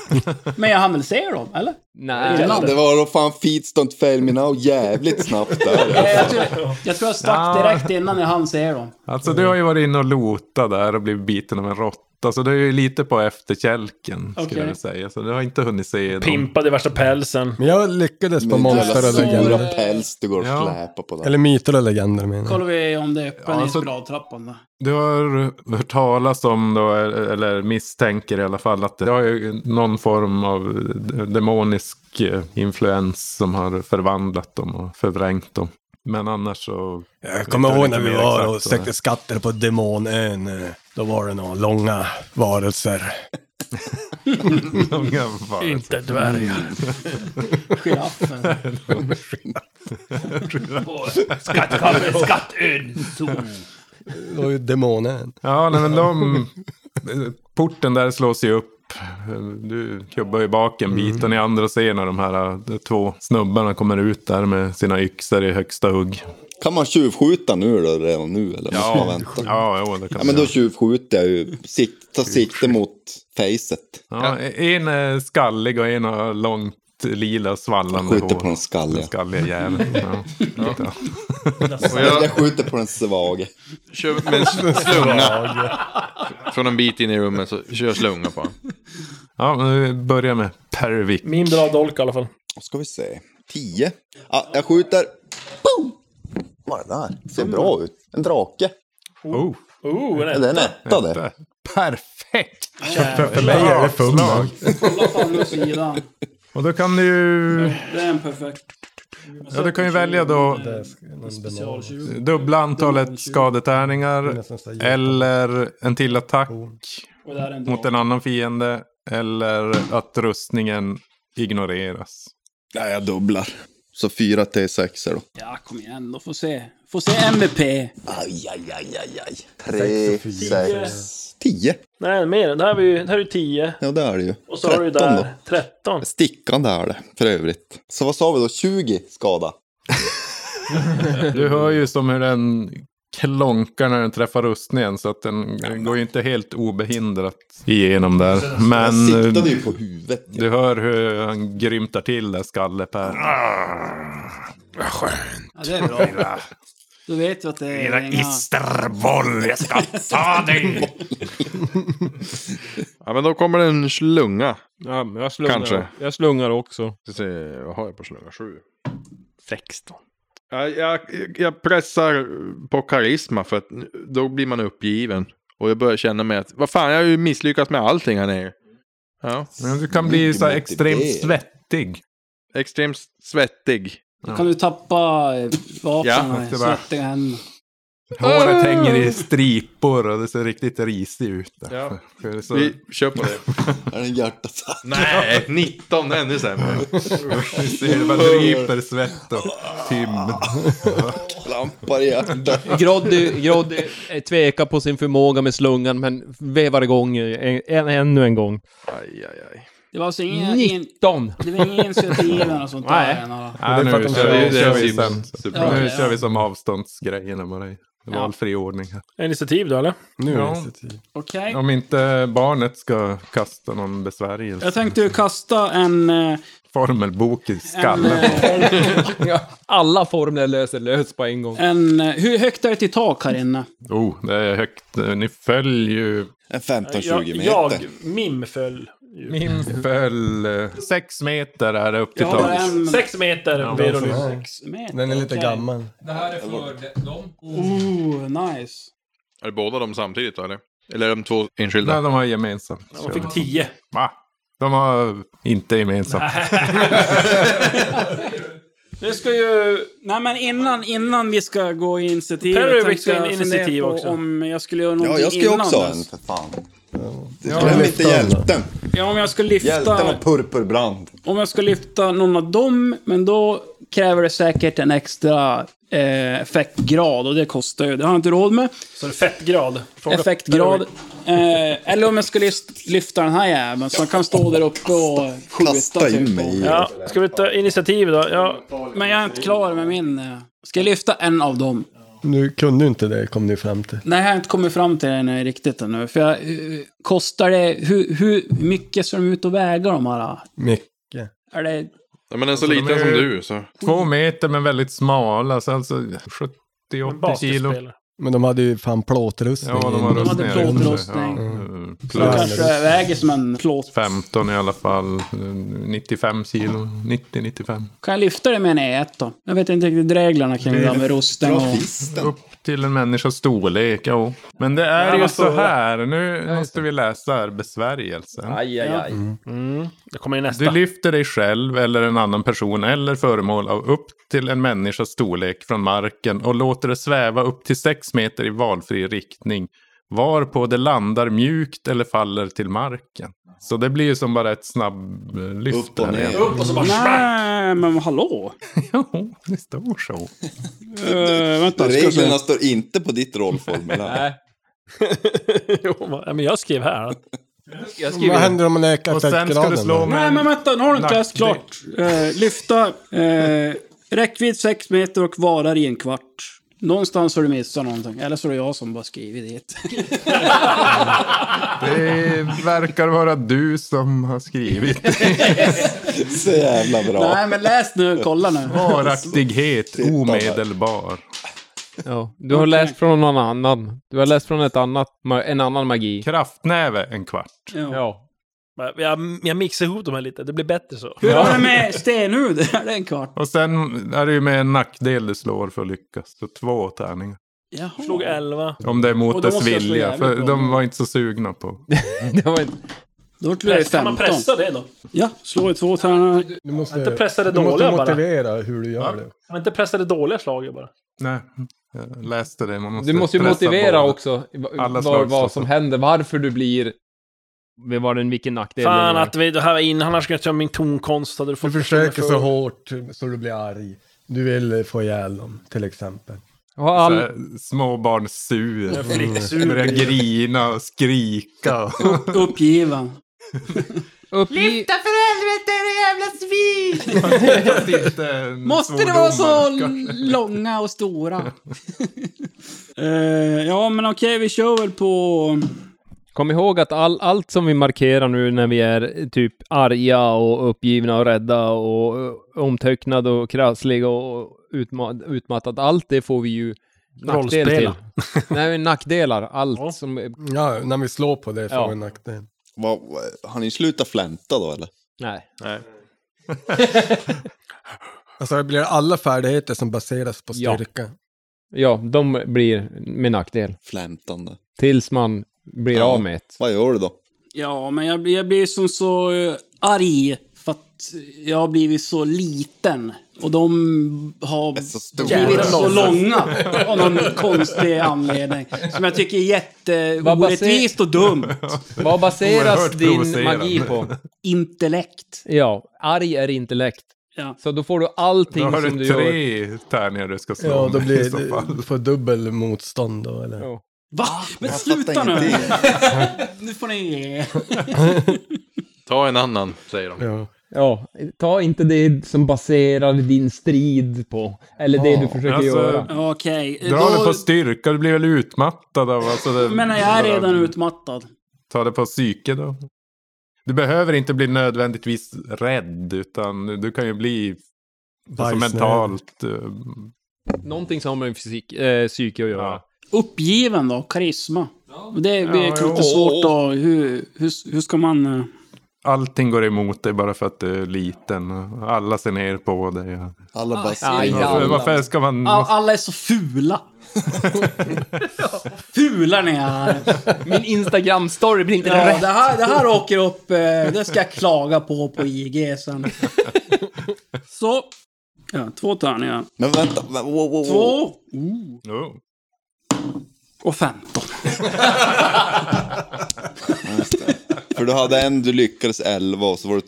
S6: Men jag hann väl se dem, eller?
S5: Nej.
S2: Ja, det var då fan feet don't fail me now jävligt snabbt
S6: Eh,
S2: där.
S6: Jag tror jag, tror jag stack
S3: Ja.
S6: direkt innan jag hann se dem.
S3: Alltså du har ju varit inne och lotat där och blivit biten av en råtta. Så du är ju lite på efterkälken skulle
S6: Okej.
S3: jag säga. Så du har inte hunnit se dem.
S7: Pimpade i värsta pälsen.
S4: Men jag lyckades på
S2: Men jävla
S4: monster och
S2: stora
S4: legender.
S2: päls du går och
S3: Ja.
S2: släpar på där.
S4: Eller myter och legender menar jag.
S6: Kollar vi om det är öppen
S3: Ja,
S6: ja,
S3: alltså-
S6: gravtrappan då.
S3: Du har hört talas om då, eller misstänker i alla fall, att det har ju någon form av demonisk eh, influens som har förvandlat dem och förvrängt dem. Men annars så...
S4: Jag kommer
S3: Vet
S4: ihåg
S3: inte
S4: när vi
S3: mer
S4: var
S3: exakt
S4: och
S3: så
S4: sökte
S3: här.
S4: skatter på demonön. eh, Då var det några långa varelser.
S3: Långa varelser. Mm.
S7: Inte dvärgar.
S6: Giraffen.
S8: Skattkammaren, skattön, sol.
S4: Det var ju demonön.
S3: Ja, nej, men de... eh, Porten där slås ju upp. Eh, Du kubbar ju bak en bit och ni andra ser när de här eh, två snubbarna kommer ut där med sina yxor i högsta hugg.
S2: Kan man tjuvskjuta nu då redan nu eller måste man vänta?
S3: Ja, jo, det kan
S2: Ja men
S3: man
S2: då
S3: göra.
S2: tjuvskjuter jag ju. Sikt, tar sikte mot facet.
S3: ja, En är skallig och en har långt lila svallande
S2: Skjuter
S3: hår.
S2: på den skalliga.
S3: Den skalliga jäveln. Ja. Ja.
S9: Och
S2: Jag
S9: jag
S2: skjuter på den svage.
S9: kör med en slunga. Från en bit in i rummet så kör jag slunga på honom.
S3: ja, men vi börjar med Pervik.
S7: Min bra dolk i alla fall.
S2: Då ska vi se. 10. Ja, jag skjuter. Boom! Vad är det där? Ser bra ut. En drake.
S3: Oh,
S7: Mm. Oh,
S2: Ja,
S7: nej.
S2: Det är en etta det.
S3: där. Perfekt!
S4: För mig är det
S3: Slag.
S4: fumlag.
S6: Kolla fan nu sidan.
S3: Och då kan du...
S6: Det är en perfekt.
S3: Ja, du kan ju välja då
S6: Specialtjuv.
S3: Dubbla antalet skadetärningar eller en till attack
S6: Och där är en
S3: mot
S6: drake.
S3: en annan fiende eller att rustningen ignoreras.
S2: Nej, jag dubblar. Så 4 T6 då.
S6: Ja, kom igen då. Får se. Får se MVP.
S2: Aj, aj, aj, aj, aj. 3, 6, 10.
S7: nej, mer. Det här är ju det här är ju 10.
S2: Ja, det är det ju.
S7: Och så har du ju
S2: 13
S7: där 13.
S2: då. Stickande är det, för övrigt. Så vad sa vi då? 20 skada.
S3: Du hör ju som hur den klonkar när den träffar rustningen så att den, den går ju inte helt obehindrat igenom där.
S2: Jag
S3: Men
S2: siktade
S3: eh,
S2: ju på huvudet.
S3: du hör hur han grymtar till där skallepär.
S6: Ja, det är bra. Då vet vi att det är inga...
S8: isterboll, jag ska ta dig!
S9: Ja men då kommer det en slunga.
S5: Ja, men jag slungar.
S9: Kanske.
S5: Jag slungar också.
S9: Ska se, vad har jag på slunga? Sju.
S8: 16.
S9: Ja, Jag, jag pressar på karisma för att då blir man uppgiven. Och jag börjar känna mig att, vad fan jag har ju misslyckats med allting här nere. Ja,
S3: Men du kan bli så här extremt svettig.
S9: extremt svettig.
S6: Då kan du tappa eh, vapnen
S9: Ja,
S6: i
S3: det var-
S6: svettiga händer.
S3: Håret hänger i stripor och det ser riktigt risigt ut. Där.
S9: Ja.
S3: För det är så-
S9: Vi kör på det.
S2: Är det en hjärtattack?
S9: Nej, 19 ännu sämre.
S3: Vi ser det bara dryper svett och tym.
S2: Klampar i hjärtat.
S5: Groddy, Groddy eh, tvekar på sin förmåga med slungan men vevar igång en, en, ännu en gång.
S9: Aj, aj, aj.
S6: Det var alltså ingen... ingen
S5: 19!
S6: det var ingen initiativ eller sånt
S5: Nej.
S6: där. Nej.
S3: Ja, nu
S4: för att de
S3: kör
S4: kör-
S3: vi,
S9: det
S3: kör
S9: är
S3: vi
S9: Sims.
S3: sen.
S9: Superbra.
S3: Nu
S6: Ja.
S3: kör vi som avståndsgrejerna bara i valfri ordning. Här.
S7: Initiativ då eller?
S4: Nu
S3: Ja.
S4: är det tid.
S6: Okej.
S3: Om inte barnet ska kasta någon besvärjelse.
S6: Jag tänkte ju kasta en... eh,
S3: Formelbok i
S6: en,
S3: skallen.
S6: eh,
S5: Alla formler löser lös på en gång.
S6: en eh, hur högt är det till tak här inne?
S3: Oh, det är högt. Ni följer ju...
S2: En 15-20
S7: Jag,
S2: meter.
S7: jag Mim föll.
S3: Min föll... eh, Sex meter är det upp till
S6: Jag har
S3: taket.
S6: en...
S7: Sex meter Verolyn.
S6: meter.
S4: Den är lite
S6: Okej. Oh,
S4: gammal.
S5: Det här är för dem.
S6: Ooh, nice.
S9: Är det båda de samtidigt då eller? Eller är de två enskilda?
S3: Nej, de har gemensamt.
S7: Man fick tio.
S3: Va? De har inte gemensamt.
S7: Nu ska ju...
S6: Nej men innan, innan vi ska gå i initiativ.
S7: Perry
S6: tänkte
S7: fick sin
S6: jag fundera
S7: initiativ
S6: på
S7: också.
S6: Om jag skulle göra någonting
S2: Ja, jag ska ju
S6: innan
S2: också ha
S6: dess.
S2: en för fan.
S4: men
S2: Glöm inte
S4: lyfta den då.
S2: hjälten.
S6: Ja, om jag ska
S2: Hjälten
S6: lyfta,
S2: och purpurbrand.
S6: om jag ska lyfta någon av dem, men då kräver det säkert en extra eh, effektgrad och det kostar ju. Det har jag inte råd med.
S7: Så det är fettgrad. Fråga
S6: Effektgrad. Eh, eller om jag ska lyft- lyfta den här jäveln som kan stå där uppe och skjuta.
S2: Kasta in
S6: typ.
S2: mig i
S7: Ja, ska vi ta initiativ då? Ja,
S6: Men jag är inte klar med min. eh. Ska jag lyfta en av dem?
S4: Nu kunde du inte det, kom du fram till.
S6: Nej, jag har inte kommit fram till det ännu riktigt ännu. För jag, eh, kostar det... Hur, hur mycket ser de ut att väga de här?
S4: Mycket.
S6: Är det...
S9: Ja, men den är så
S3: Alltså, de
S9: liten
S3: är
S9: som
S3: ju-
S9: du så.
S3: Två meter men väldigt smala. Så alltså 70-80 kilo.
S7: Basketspelare.
S4: Men de hade ju fan plåtrustning. Mm.
S3: Ja, de har
S6: De hade
S3: rustningar. i sig.
S6: plåtrustning.
S3: Ja,
S6: De
S4: Ja,
S3: plus
S6: kanske
S4: det-
S6: väger som en plåt.
S3: 15 i alla fall. 95 kilo. 90-95.
S6: Kan jag lyfta det med en E1 då? Jag vet inte riktigt reglerna kring det där med rosten och...
S2: Grossisten.
S3: Upp till en människas storlek, ja. Men det är
S7: Ja,
S3: ju
S7: vad
S3: så
S7: stora.
S3: här. Nu måste vi läsa besvärjelsen.
S2: Aj, aj, aj.
S7: Mm, Det kommer ju nästa.
S3: Du lyfter dig själv eller en annan person eller föremål av upp till en människas storlek från marken och låter det sväva upp till 6 meter i valfri riktning. Varpå det landar mjukt eller faller till marken. Så det blir ju som bara ett snabblyft.
S2: Upp och
S3: här
S2: ner.
S3: igen. Mm.
S7: Upp och så bara...
S6: Nej, men hallå!
S3: Jo, det står så.
S6: Eh, vänta, ska jag
S2: Reglerna
S6: se.
S2: står inte på ditt rollformulär.
S5: Nej.
S7: Jo, va- ja, men jag skrev här.
S5: Jag
S4: Vad
S5: skriver
S4: händer om man ökar
S3: Och sen ska du
S4: effektgraden
S3: slå
S4: då?
S6: Nej,
S3: med
S6: men vänta, nu har du inte
S3: Nackdel.
S6: läst klart. Eh, lyfta. Eh, räckvidd 6 meter och varar i en kvart. Någonstans har du missat någonting. Eller så är det jag som bara skrivit det.
S3: Det verkar vara du som har skrivit.
S2: Så jävla bra.
S6: Nej, men läs nu. Kolla nu.
S3: Varaktighet omedelbar.
S5: Ja, du har läst från någon annan. Du har läst från ett annat, ma- en annan magi.
S3: Kraftnäve en kvart.
S6: Ja.
S5: Ja.
S7: Men Jag, jag mixar ihop dem här lite. Det blir bättre så.
S6: Hur var det med stenhud? Är det en kvart?
S3: Och sen är det ju med en nackdel du slår för att lyckas. Så två tärningar.
S6: Jaha.
S7: Slog 11.
S3: Om det är
S6: Och
S3: mot
S6: då
S3: dess
S6: måste jag slå
S3: vilja.
S6: jävligt
S3: För
S6: bra.
S3: de var inte så sugna på.
S5: Det var inte...
S6: Då vart det
S7: Kan
S6: 15.
S7: man pressa det då?
S6: Ja, slå i två tärningar.
S4: Du måste,
S7: Inte pressa det
S4: du måste
S7: dåliga bara.
S4: motivera hur du gör det.
S7: Men inte pressa det dåliga slaget bara.
S3: Nej, jag läste det. Man måste
S5: Du måste ju
S3: pressa
S5: motivera
S3: båda.
S5: också
S3: Alla
S5: vad, vad
S3: slags saker.
S5: som händer, varför du blir... Vad var den, vilken nackdel
S7: Fan
S5: det var.
S7: att vi, det här var in, annars skulle jag ta min tonkonst. Hade du
S4: Du
S7: fått
S4: försöker så
S7: förtroende för-
S4: hårt så du blir arg. Du vill eh, få ihjäl dem, till exempel.
S5: Har all...
S3: Så här, Småbarnssur.
S7: Jag flicksur.
S3: Börjar grina och skrika.
S6: Uppgiven.
S5: Uppge...
S3: Fast inte
S4: Mm,
S6: Måste det vara så
S3: svordomar, kanske.
S6: långa och stora? Eh, ja, men okej, vi kör väl på...
S5: Kom ihåg att all, allt som vi markerar nu när vi är typ arga och uppgivna och rädda och eh, omtöcknade och krassliga och utma- utmattade, allt det får vi ju nackdel till.
S7: Rollspela.
S5: Nej, men nackdelar. Allt
S7: Ja.
S5: som... är-
S4: Ja, när vi slår på det får
S5: Ja.
S4: vi en nackdel.
S2: Vad- vad- Har ni slutat flänta då eller?
S5: Nej.
S4: Alltså det blir alla färdigheter som baseras på
S5: Ja.
S4: styrka.
S5: Ja, de blir med nackdel.
S2: Flämtande.
S5: Tills man blir
S2: Ja.
S5: av med ett.
S2: Vad gör du då?
S6: Ja, men jag blir, jag blir som så eh, arg för att jag har blivit så liten. Och de har
S2: Så stor.
S6: blivit så långa av någon konstig anledning. Som jag tycker är
S5: Vad baser-
S6: jätteorättvist och dumt.
S5: Vad baseras
S3: Oerhört
S5: din
S3: provocerande.
S5: magi på?
S6: Intellekt.
S5: Ja, arg är intellekt.
S6: Ja.
S5: Så då får du allting
S3: Då har
S5: som
S3: du
S5: du gör.
S3: tre tärningar du ska slå
S4: Ja, då
S3: med i
S4: blir
S3: så fall.
S4: det, du får dubbel motstånd då, eller?
S5: Ja.
S6: Va?
S3: Ah,
S6: Men
S2: Jag
S6: sluta
S2: fattar
S6: nu!
S2: ingenting.
S6: Nu får ni...
S9: Ta en annan, säger de.
S4: Ja.
S5: Ja, ta inte det som baserar din strid på. Eller det du försöker
S3: alltså,
S5: göra.
S6: Okej.
S3: Dra det
S6: då-
S3: på styrka, du blir väl utmattad av... Alltså det,
S6: Men jag är redan utmattad.
S3: Ta det på psyke då. Du behöver inte bli nödvändigtvis rädd, utan du kan ju bli alltså,
S4: Bajsnödig.
S3: mentalt... eh,
S5: Någonting som har med fysik, eh, psyke att göra.
S3: Ja.
S6: Uppgiven då? Karisma? Det blir
S3: Ja,
S6: lite
S3: jo.
S6: svårt då. Hur, hur, hur ska man... eh,
S3: Allting går emot dig bara för att du är liten. Alla ser ner på dig.
S2: Alla
S6: Ah,
S2: bara
S5: aj,
S2: ser.
S5: aj.
S3: Varför, varför ska man...
S6: All, alla är så fula. fula ni är.
S5: Min Instagram-story blir inte
S6: Ja, det, här, det här åker upp. eh, Det ska jag klaga på på IG sen. Så. Ja, två tärningar.
S2: Men vänta. men- Wow, wow, wow.
S6: Två
S3: Oh.
S6: och femton.
S2: För du hade en du lyckades 11 och så var det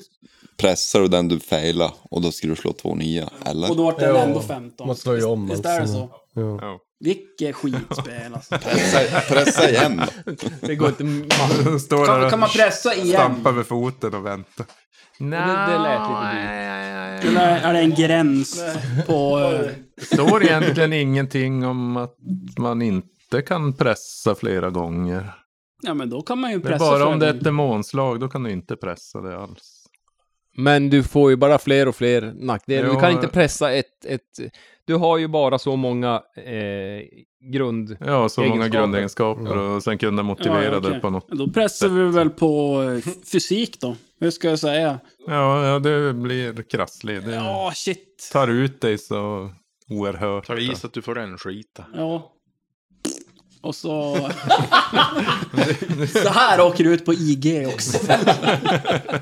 S2: pressar och den du failade. Och då skulle du slå två nia, eller?
S6: Och då vart den ändå femton.
S4: Man slår ju om
S6: Visst är det
S4: alltså.
S6: så?
S4: Ja.
S6: Vilket skitspel alltså.
S2: Pressa, pressa igen då.
S5: Det går inte...
S3: Står där
S6: Kan,
S3: och
S6: kan man pressa igen?
S3: stampar med foten och väntar.
S5: Det, det lät lite
S8: Nej,
S5: dyrt.
S8: nej,
S6: Eller är det en gräns på... eh,
S3: Det står egentligen ingenting om att man inte kan pressa flera gånger.
S6: Ja, men då kan man ju
S3: Det är
S6: pressa
S3: bara om
S6: för
S3: det är
S6: den.
S3: ett demonslag, då kan du inte pressa det alls.
S5: Men du får ju bara fler och fler nackdelar. Du
S3: Ja.
S5: kan inte pressa ett, ett... Du har ju bara så många eh, grund...
S3: Ja, så många
S5: Egenskaper.
S3: grundegenskaper och sen kunde jag
S6: Ja,
S3: motivera det
S6: okej.
S3: på något.
S6: Då pressar vi väl på eh, fysik då. Hur ska jag säga?
S3: Ja, ja det blir krasslig. Det
S6: Ja, shit.
S3: tar ut dig så oerhört.
S9: Tar i så att du får rännskita.
S6: Ja. Och så... så här åker du ut på IG också.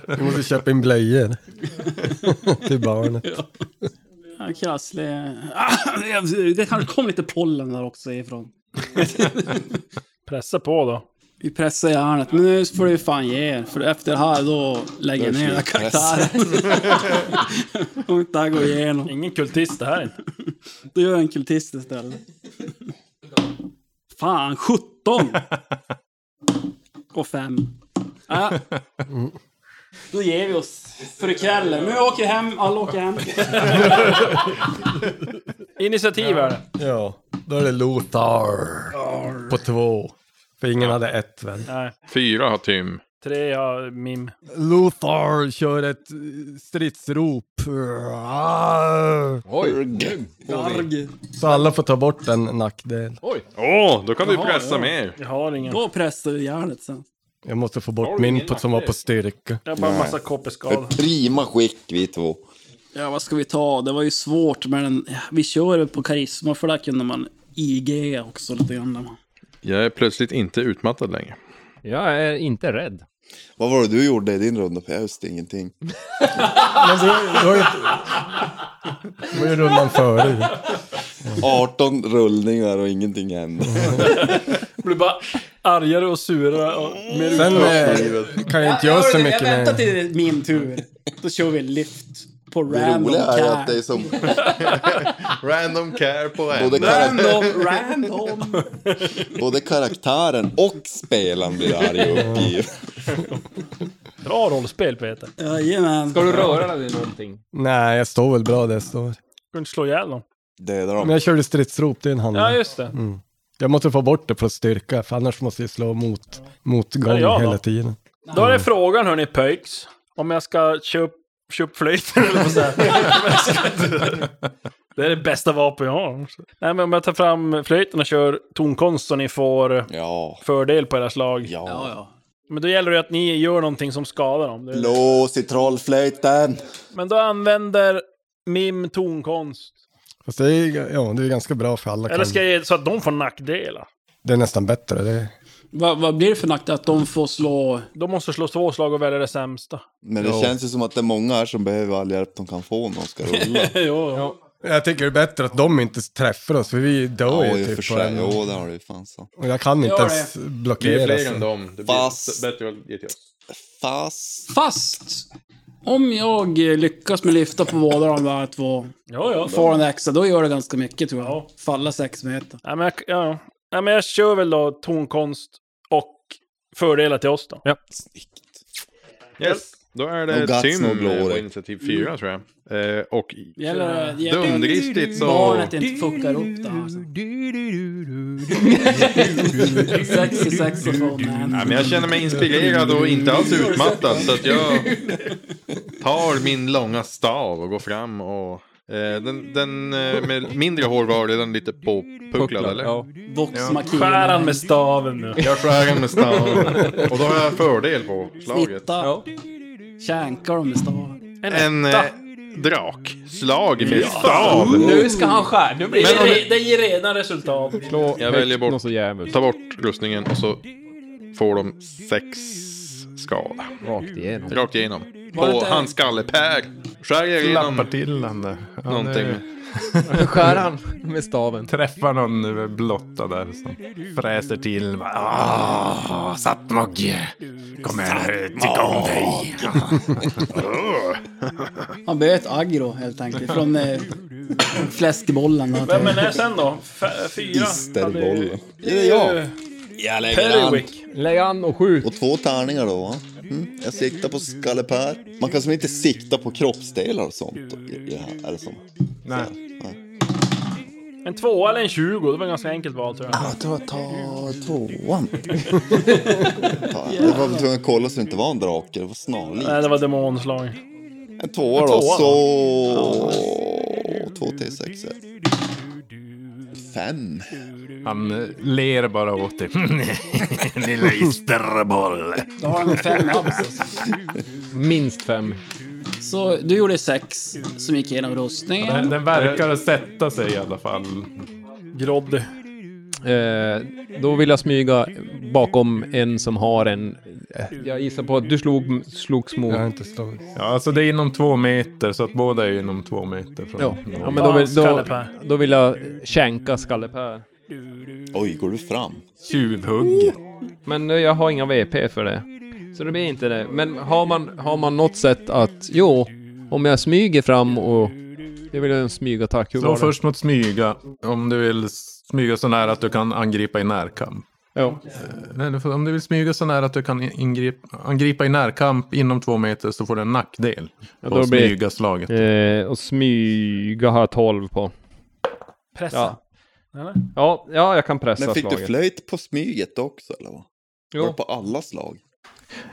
S4: Vi måste köpa in blöjor. Till barnet.
S6: Ja, krasslig. Ah, det- Det kanske kom lite pollen där också ifrån.
S7: Pressa på då.
S6: Vi pressar järnet, men nu får du fan ge er. För efter det här då lägger jag ner den här karaktären. Om inte det här går igenom.
S7: Ingen kultist det här.
S6: Då gör jag en kultist istället. Fan, 17! Och 5. Ja. Då ger vi oss för ikväll. Nu åker jag hem, alla åker hem.
S7: Initiativ är det.
S4: Ja, då är det Lothar. På två. För ingen hade ett väl.
S7: Nej.
S9: Fyra har Tim.
S7: Tre har mim.
S4: Lothar kör ett eh, stridsrop.
S6: Garg.
S4: Så alla får ta bort en nackdel.
S9: Åh, då kan vi pressa mer.
S7: Jag har ingen.
S6: Då pressar vi järnet sen.
S4: Jag måste få bort min på, som var på styrka.
S7: Jag har bara en massa kopperskador.
S2: Prima skick vi två.
S6: Ja, vad ska vi ta? Det var ju svårt, men vi kör på karisma för där kunde man IG också lite grann.
S9: Jag är plötsligt inte utmattad längre.
S5: Jag är inte rädd.
S2: Vad var det du gjorde i din runda? För jag visste ingenting.
S4: Men du, du har ju... Det var ju rundan före.
S2: 18 rullningar och ingenting hände.
S7: blir bara argare och surare. Och mer
S4: Sen eh, kan jag inte göra så mycket
S6: Jag väntar
S4: mer.
S6: till min tur. Då kör vi lyft på
S2: Det
S6: random
S2: roliga är att det
S6: cat.
S2: är som
S9: Random care på
S2: både, karak
S6: Random, random.
S2: både karaktären och spelaren blir arg och uppgiven.
S7: Bra rollspel Peter. Du
S6: Jajamän.
S5: Ska du röra dig någonting?
S4: Nej, jag står väl bra där jag står.
S7: kan inte slå ihjäl dem.
S2: Dödar
S4: Men
S2: dem.
S4: jag körde stridsrop, det är en handling.
S7: Ja, just det.
S4: Jag måste få bort det för att styrka, för annars måste jag slå mot, motgång
S7: Ja, ja,
S4: hela
S7: då.
S4: tiden.
S7: Då är det frågan hörni pöjks. Om jag ska köpa köp flöjten eller vad säger jag? Om jag ska- Det är det bästa vapen jag har. Nej, men om jag tar fram flöjten och kör tonkonst så ni får
S2: Ja.
S7: fördel på era slag.
S2: Ja.
S7: Men då gäller det att ni gör någonting som skadar dem. Det-
S2: Blås i trollflöjten.
S7: Men då använder Mim tonkonst.
S4: Fast det är, ja, det är ganska bra för alla.
S7: Eller
S4: kan-
S7: ska jag ge så att de får nackdelar?
S4: Det är nästan bättre. Det.
S6: Vad, vad blir det för nackdel att de får slå...
S7: De måste slå två slag och välja det sämsta.
S2: Men det känns ju som att det är många här som behöver all hjälp de kan få när de ska rulla.
S7: jo,
S4: Jag tycker det är bättre att de inte träffar oss, för vi dör
S2: Ja,
S4: ju
S2: i och för
S4: typ på
S2: sig.
S4: den.
S2: Jo, det har du ju fan så.
S4: Och jag kan inte
S6: Ja,
S4: ens
S9: Vi är
S4: blockera.
S9: fler
S4: så.
S9: än dem. Det
S2: Fast-
S9: blir bättre att ge till oss.
S2: Fast...
S6: Fast om jag eh, lyckas med lyfta på båda de där två,
S7: jo.
S6: får en extra, då gör det ganska mycket tror jag. Falla sex meter.
S7: Nej, men jag, ja. Nej, men jag kör väl då tonkonst och fördelar till oss då. Ja.
S9: Yes. Då är
S2: No
S9: det
S2: guts,
S9: Tim
S2: no
S9: eh, på
S2: glory.
S9: initiativ fyra tror jag. Eh, och i-
S6: Gäller det... gäller-
S9: dumdristigt så...
S6: Barnet inte fuckar upp det alltså. 66 och så,
S9: Ja,
S6: man.
S9: men jag känner mig inspirerad och inte alls utmattad så att jag tar min långa stav och går fram och eh, den, den eh, med mindre hårvar är den lite påpucklad eller?
S5: Ja.
S7: Skär
S6: Voxmakinerna.
S7: han med staven nu.
S9: Jag skär den med staven och då har jag fördel på slaget.
S6: Snitta. Känkar de med stavar.
S9: En eh, drakslag med stav.
S5: Nu ska han skära. Nu blir
S9: Men om
S7: Det ger redan resultat.
S5: Slå
S9: Jag väljer bort.
S5: Något så jävligt.
S9: Ta bort rustningen och så får de sex skada.
S5: Rakt igenom.
S9: Rakt igenom. På hans skallepär. Skär jag
S3: Klappar
S9: igenom
S3: till han där. Han
S9: någonting.
S3: eh,
S5: Skär han med staven.
S3: träffar någon eh, blotta där som fräser till. Va? Ah, Sattmogge. Kom här, tycka om dig.
S6: Han blev ett aggro helt enkelt. Från eh, fläskbollen.
S7: Vem är det sen då? F- fyra?
S2: Isterbollen.
S7: Ja, det är ju-
S2: Jag lägger an.
S7: Perrywick.
S5: Lägg an och skjut.
S2: Och två tärningar då va? Mm. Jag siktar på skallepär. Man kan som inte sikta på kroppsdelar och sånt. i- i det här, Eller som.
S3: Nej.
S7: En tvåa eller en tjugo, det var ett ganska enkelt val tror jag.
S2: Ja, då ta tvåan. Ta- Jag var tvungen att kolla så det inte var en drake. Det var snarlikt.
S7: Nej, det var demonslag.
S2: En tvåa då,
S7: tvåa
S2: så... Två till sex. Fem.
S3: Han eh, ler bara åt dig. Lilla isterboll.
S6: Då har han fem abs.
S5: Minst fem.
S6: Så du gjorde sex som gick igenom
S3: Den,
S6: rustningen.
S3: den verkar sätta sig i alla fall.
S7: Groddy.
S5: Eh, då vill jag smyga bakom en som har en... eh, Jag gissar på att du slog, slogs mot...
S4: Jag har inte stått.
S3: Ja, alltså det är inom två meter, så att båda är inom två meter från
S5: Ja,
S3: varandra.
S5: ja men då vill, då,
S7: Skallepär.
S5: då vill jag skänka skallepär.
S2: Oj, går du fram?
S3: Tjuvhugg.
S5: Men eh, jag har inga VP för det. Så det blir inte det. Men har man, har man något sätt att... Jo, om jag smyger fram och... Det vill jag en smygattack. Hur
S3: Slå
S5: var det?
S3: först mot smyga. Om du vill smyga så nära att du kan angripa i närkamp. Eh,
S5: Ja.
S3: Nej, du får- om du vill smyga så nära att du kan ingripa, angripa i närkamp inom två meter så får du en nackdel.
S5: Ja,
S3: på
S5: då blir-
S3: smyga slaget.
S5: Eh, och smyga har jag 12 på.
S7: Pressa.
S5: Ja.
S7: Eller?
S5: Ja, ja, jag kan pressa
S2: Men fick du
S5: slaget.
S2: flöjt på smyget också eller? vad? Var det
S5: Jo.
S2: på alla slag?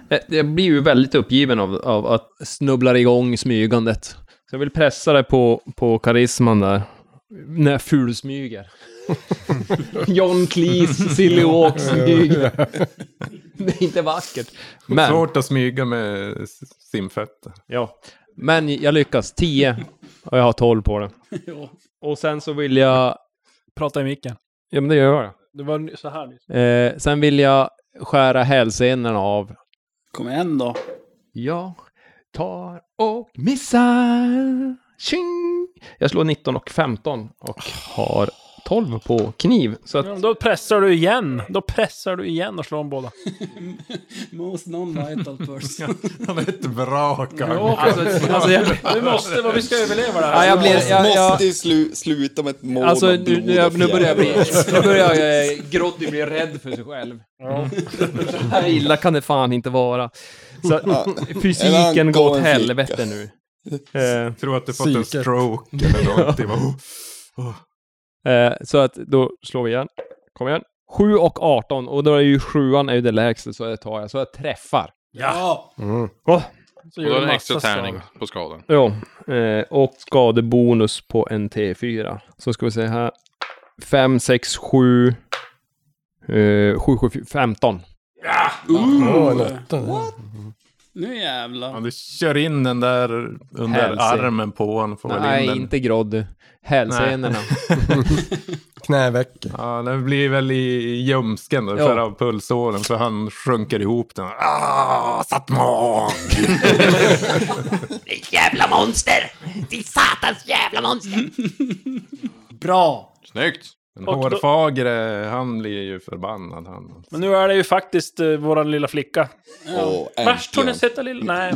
S5: Eh, Jag blir ju väldigt uppgiven av, av att snubbla igång smygandet. Så jag vill pressa det på, på karisman där. När jag fulsmyger. John Cleese, Silly Walk, smyg. Det är inte vackert. Men,
S3: Svårt att smyga med s- simfötter.
S5: ja. Men jag lyckas. 10. Och jag har 12 på det. Och sen så vill jag...
S7: Prata i micken.
S5: Ja, men det gör jag.
S7: Det var ny- så här nyss.
S5: Eh, sen vill jag skära hälsenorna av
S6: Kom igen då.
S5: Jag tar och missar. Tjing! Jag slår 19 och 15 och har 12 på kniv. Så att,
S7: Ja, men Då pressar du igen. Då pressar du igen och slår dem båda.
S6: Most non-vital person.
S3: Han är ett vrak.
S5: alltså, alltså, jag,
S7: Du måste, vad vi ska överleva det
S5: ja,
S7: här.
S5: jag blir... Jag, jag,
S2: Måste ju slu, sluta med ett mål
S5: alltså,
S2: av
S5: nu,
S2: blod
S5: nu, jag,
S2: och
S5: nu börjar jag bli...
S2: fjärilar.
S5: Nu börjar jag, eh, Grotty bli rädd för sig själv.
S3: Mm.
S5: Så här illa kan det fan inte vara. Så att fysiken
S2: Eller
S5: går
S2: gå
S5: åt
S2: en
S5: helvete nu. Eh,
S3: tror att du fått en
S4: Psyket.
S3: stroke eller någonting. Bara, oh.
S5: Eh, så att då slår vi igen. Kom igen. 7 och 18 och då är ju 7 är ju det lägsta så det tar jag. Så jag träffar. Oh,
S6: Ja!
S2: Mm.
S7: Så
S9: Och då
S7: gör
S9: är
S7: du
S9: det en
S7: massa
S9: extra
S7: skada.
S9: tärning på skadan.
S5: Ja. Eh, och skadebonus på en T4. Så ska vi se här. 5, 6, 7. Eh, 7, 7, 15.
S4: Mm. Åh, en åtta.
S6: Nu
S3: Ja,
S6: jävlar.
S3: du kör in den där under
S5: Hälse.
S3: armen på honom. Får väl in
S5: Nej,
S3: den.
S5: inte grodd. Hälsenorna.
S4: Knäveck.
S3: Ja, den blir väl i ljumsken då, för av pulsåren. För han sjunker ihop den. Ah, Satmon!
S8: Ditt jävla monster! Ditt satans jävla monster!
S6: Bra!
S9: Snyggt!
S3: Den
S7: Och då-
S3: hårfagre, han blir ju förbannad han.
S7: Men nu är det ju faktiskt eh, våran lilla flicka.
S2: Och
S7: Värst har ni
S2: äntligen.
S7: sett den lilla... Nej.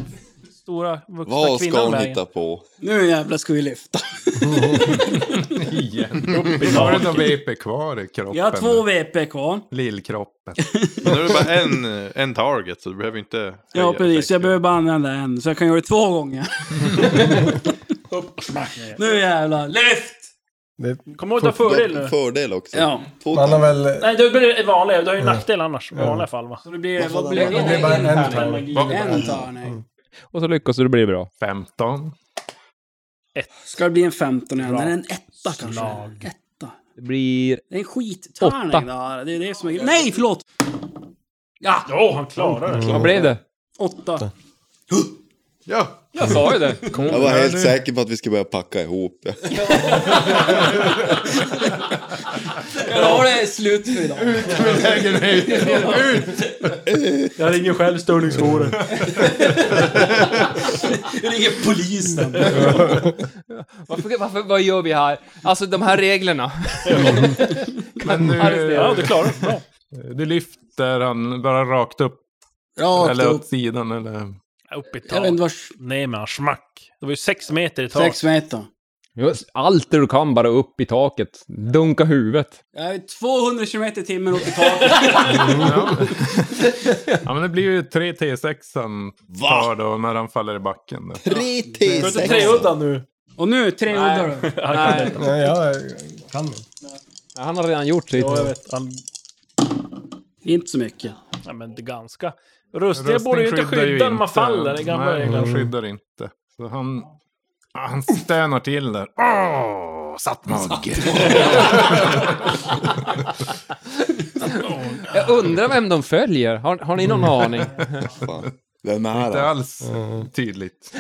S7: Stora vuxna
S2: Vad
S7: kvinnan
S2: ska hon
S7: vägen.
S2: hitta på?
S6: Nu jävlar ska vi lyfta.
S3: Igen. Har du någon VP kvar i kroppen?
S6: Jag har två VP kvar.
S3: Lillkroppen.
S9: Men nu är det bara en, en target så du behöver inte... höja
S6: Ja, precis.
S9: effekten.
S6: Jag behöver bara använda en, så jag kan göra det två gånger. nu jävlar. Lyft!
S4: Det,
S7: Kom ihåg att du har fördel nu.
S2: Dock fördel också.
S6: Ja.
S2: Två
S4: man har
S2: tärningar.
S4: väl...
S7: Nej, du blir det vanliga. Du har ju nackdel annars. I vanliga fall va? Så det blir...
S2: Varför
S7: Vad
S2: det?
S7: blir det?
S4: Det blir bara en tärning.
S6: En tärning.
S5: och så lyckas du, det blir bra.
S3: 15.
S6: Ska det bli en 15 igen?
S7: Bra.
S6: Eller en etta kanske?
S7: Slag.
S6: Etta.
S5: Det blir...
S6: Det är en skittärning
S5: Åtta.
S6: det här. Det är det som är Nej, förlåt! Ja,
S7: Åh, han klarar det.
S5: Vad blev det?
S6: åtta.
S9: Ja!
S5: Jag sa ju det. Kom.
S2: Jag var helt säker på att vi skulle börja packa ihop.
S6: Ja, det är slut för idag.
S7: Jag ringer själv störningsjouren.
S6: Jag ringer polisen.
S5: Varför, varför, vad gör vi här? Alltså de här reglerna.
S3: Men
S7: Ja,
S3: du,
S7: du klarar det. Bra.
S3: du lyfter han bara rakt upp.
S6: Rakt
S3: eller åt
S6: upp.
S3: sidan eller...
S7: Upp i
S6: Jag vet inte
S7: tak.
S6: var...
S7: Nej men smack. Det var ju sex meter i tak.
S6: Sex meter.
S5: Just Allt det du kan, bara upp i taket. Dunka huvudet.
S6: Jag är 200 km i timmen upp i taket.
S3: Ja, men det blir ju 3 T6 han tar då när han faller i backen. Där.
S2: 3
S7: Du har inte
S2: T6.
S7: treudda nu?
S6: Och nu, tre uddar då.
S7: Nej.
S4: Nej, jag kan inte.
S5: Ja, Han har redan gjort sitt.
S7: Jo, jag vet. Han...
S6: Inte så mycket.
S7: Nej, men det är ganska. Rustiga borde ju inte
S3: Rustning skyddar ju
S7: skydda när man
S3: inte.
S7: faller i gamla
S3: Nej, han
S7: regler.
S3: skyddar inte. Så han, ah, han stönar till där. Åh, satt mugg!
S5: Jag undrar vem de följer. Har, har ni någon aning?
S2: Fan. Vem är
S3: Mm. Inte
S2: det?
S3: alls
S5: Mm.
S3: tydligt.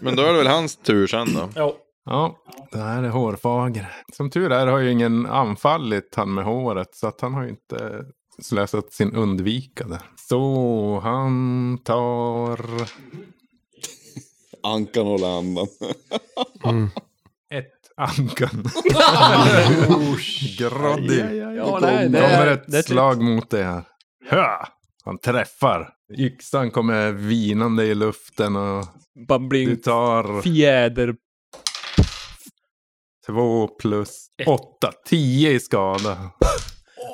S9: Men då är det väl hans tur sen då.
S7: Jo.
S3: Ja, det här är hårfager. Som tur är har ju ingen anfallit han med håret. Så att han har ju inte slösat sin undvikade. Så han tar
S2: Ankan håller andan.
S3: ett ankan. Groddig.
S5: Ja,
S2: nej, det
S3: Kommer ett
S5: typ-
S3: slag mot det här. Hö! Han träffar. Yxan kommer vinande i luften och
S5: Bara
S3: du
S5: blir
S3: tar
S5: fjäder.
S3: två plus åtta. Tio i skada.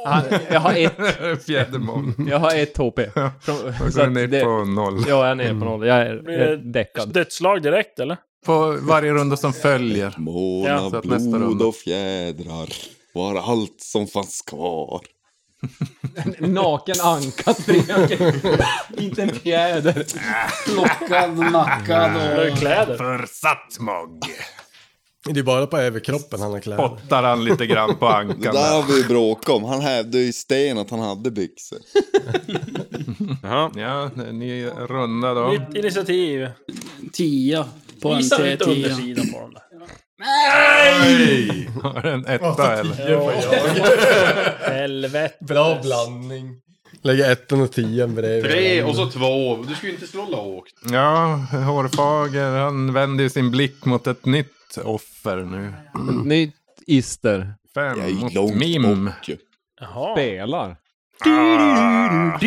S5: Han, jag har ett,
S3: Fjädermån.
S5: jag har ett HP. Från, så
S3: Då går
S5: att
S3: ner
S5: det-
S3: på noll.
S5: Ja, jag är nere på noll. Jag är,
S7: Blir
S5: jag är
S7: det-
S5: däckad.
S7: Dödsslag direkt eller?
S3: På varje runda som följer.
S2: Måna,
S3: så att nästa
S2: blod
S3: runda.
S2: och fjädrar. Var allt som fanns kvar.
S5: Naken anka springer. Inte en fjäder.
S6: Plockad, nackad
S7: Eller
S6: och...
S7: kläder?
S3: För Satsmog.
S4: Det är bara på överkroppen han har kläder.
S3: Pottar han lite grann på
S2: Det
S3: ankan.
S2: där
S3: där.
S2: har vi ju bråkat om. Han hävde ju i sten att han hade byxor.
S9: Jaha.
S3: Ja, ny runda då.
S7: Nytt initiativ.
S6: Tia på en
S7: Visa lite
S6: T10.
S7: undersidan på dem där.
S3: Nej! Har den etta eller?
S7: Helvete.
S4: Bra blandning. Lägger ettan och tian bredvid.
S9: Tre och så två. Du skulle ju inte slå lågt.
S3: Ja, Hårfager han vänder ju sin blick mot ett nytt offer nu.
S5: Nytt ister.
S3: Fem
S2: Jag är ju
S3: mot
S2: långt
S3: Mim.
S2: bort ju.
S7: Jaha.
S5: Spelar.
S3: Ah.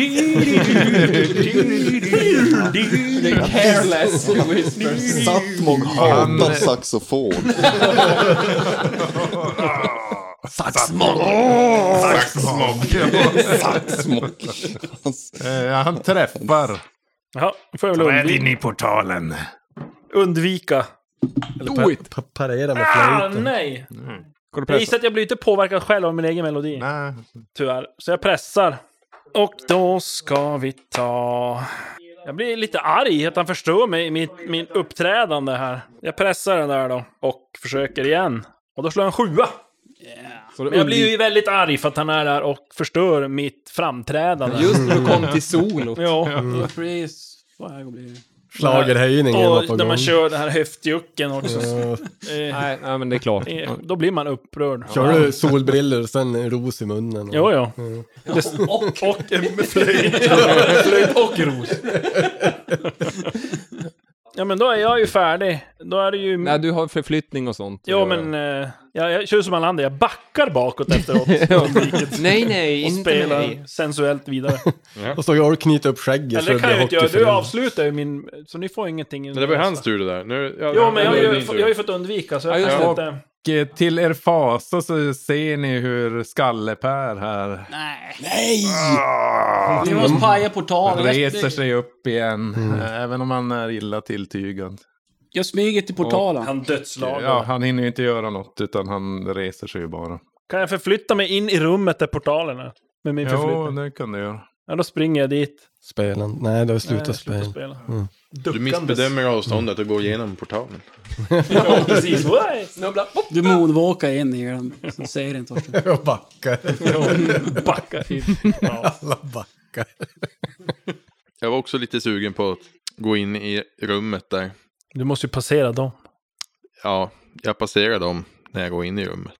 S5: Careless whisper.
S2: Satmog
S3: Han-
S2: hatar saxofon. Saxmog. Hans-
S3: Eh, Han träffar.
S7: Jaha, då får jag väl undvika.
S3: i portalen.
S7: undvika.
S5: Do it.
S4: Pa- Parera med
S7: Ah,
S4: flöjten.
S7: nej!
S5: Går du
S7: Jag
S5: pressa?
S7: gissar att jag blir inte påverkad själv av min egen melodi.
S3: Mm. Nej,
S7: Tyvärr. Så jag pressar. Och då ska vi ta... Jag blir lite arg att han förstår mig, min, min uppträdande här. Jag pressar den där då. Och försöker igen. Och då slår jag en sjua.
S5: Så du
S7: Men jag blir
S5: undviker-
S7: ju väldigt arg för att han är där och förstör mitt framträdande.
S5: Just när du kom till solot.
S7: Ja.
S6: Please. Vad här blir det?
S4: Schlagerhöjningen var på
S7: Och när
S4: gång.
S7: man kör den här höftjucken också.
S4: Ja.
S7: Eh,
S5: Nej, nej, men det är klart.
S7: eh, då blir man upprörd.
S4: Kör du solbrillor och sen en ros i munnen? och- Mm.
S7: Jo, jo. Det- Och, och en flöjt. flöjt och ros. Ja, men då är jag ju färdig. Då är det ju...
S5: Nej, du har förflyttning och sånt.
S7: Jo, men eh, jag, jag kör som alla andra. Jag backar bakåt efteråt. Undviket.
S5: Nej, nej,
S7: och
S5: inte
S7: spelar
S5: mig.
S7: sensuellt vidare.
S4: Och så har du knutit upp skägget
S7: Eller det
S4: det
S7: kan
S4: blir
S7: jag inte göra. Du
S4: hockeyfrilla.
S7: avslutar ju min... Så ni får ingenting.
S9: Men det var ju hans tur det där. Nu, ja,
S7: Jo, men jag har
S9: nu är det
S7: ju,
S9: din tur.
S7: jag har ju fått undvika, så jag
S5: Ja, just
S7: kan
S3: det.
S7: inte...
S3: och till er fasa så ser ni hur Skallepär här
S6: Nej.
S2: Nej!
S6: Ni Ah. måste paja portalen.
S3: reser
S6: Jag,
S3: sig upp igen.
S5: Mm.
S3: eh, Även om han är illa tilltygad.
S6: jag smyger till portalen.
S7: Han dödslagade.
S3: Ja, han hinner ju inte göra något utan han reser sig ju bara.
S7: Kan jag förflytta mig in i rummet där portalen är? Med min
S3: Jo,
S7: förflyttning?
S3: det kan du göra.
S7: Ja, då springer jag dit.
S4: Spelen. Nej, då slutar spel.
S7: Nej, sluta spela.
S3: Mm.
S4: Mm.
S9: Du missbedömer avståndet och går igenom portalen.
S7: Ja, precis. Oj!
S5: Snubbla.
S6: Du moonwalkar in i den. Så säger inte Torsten.
S4: Jag backar.
S7: Backa hit. Ja.
S4: Alla backar.
S9: Jag var också lite sugen på att gå in i rummet där.
S7: Du måste ju passera dem.
S9: Ja, jag passerar dem när jag går in i rummet.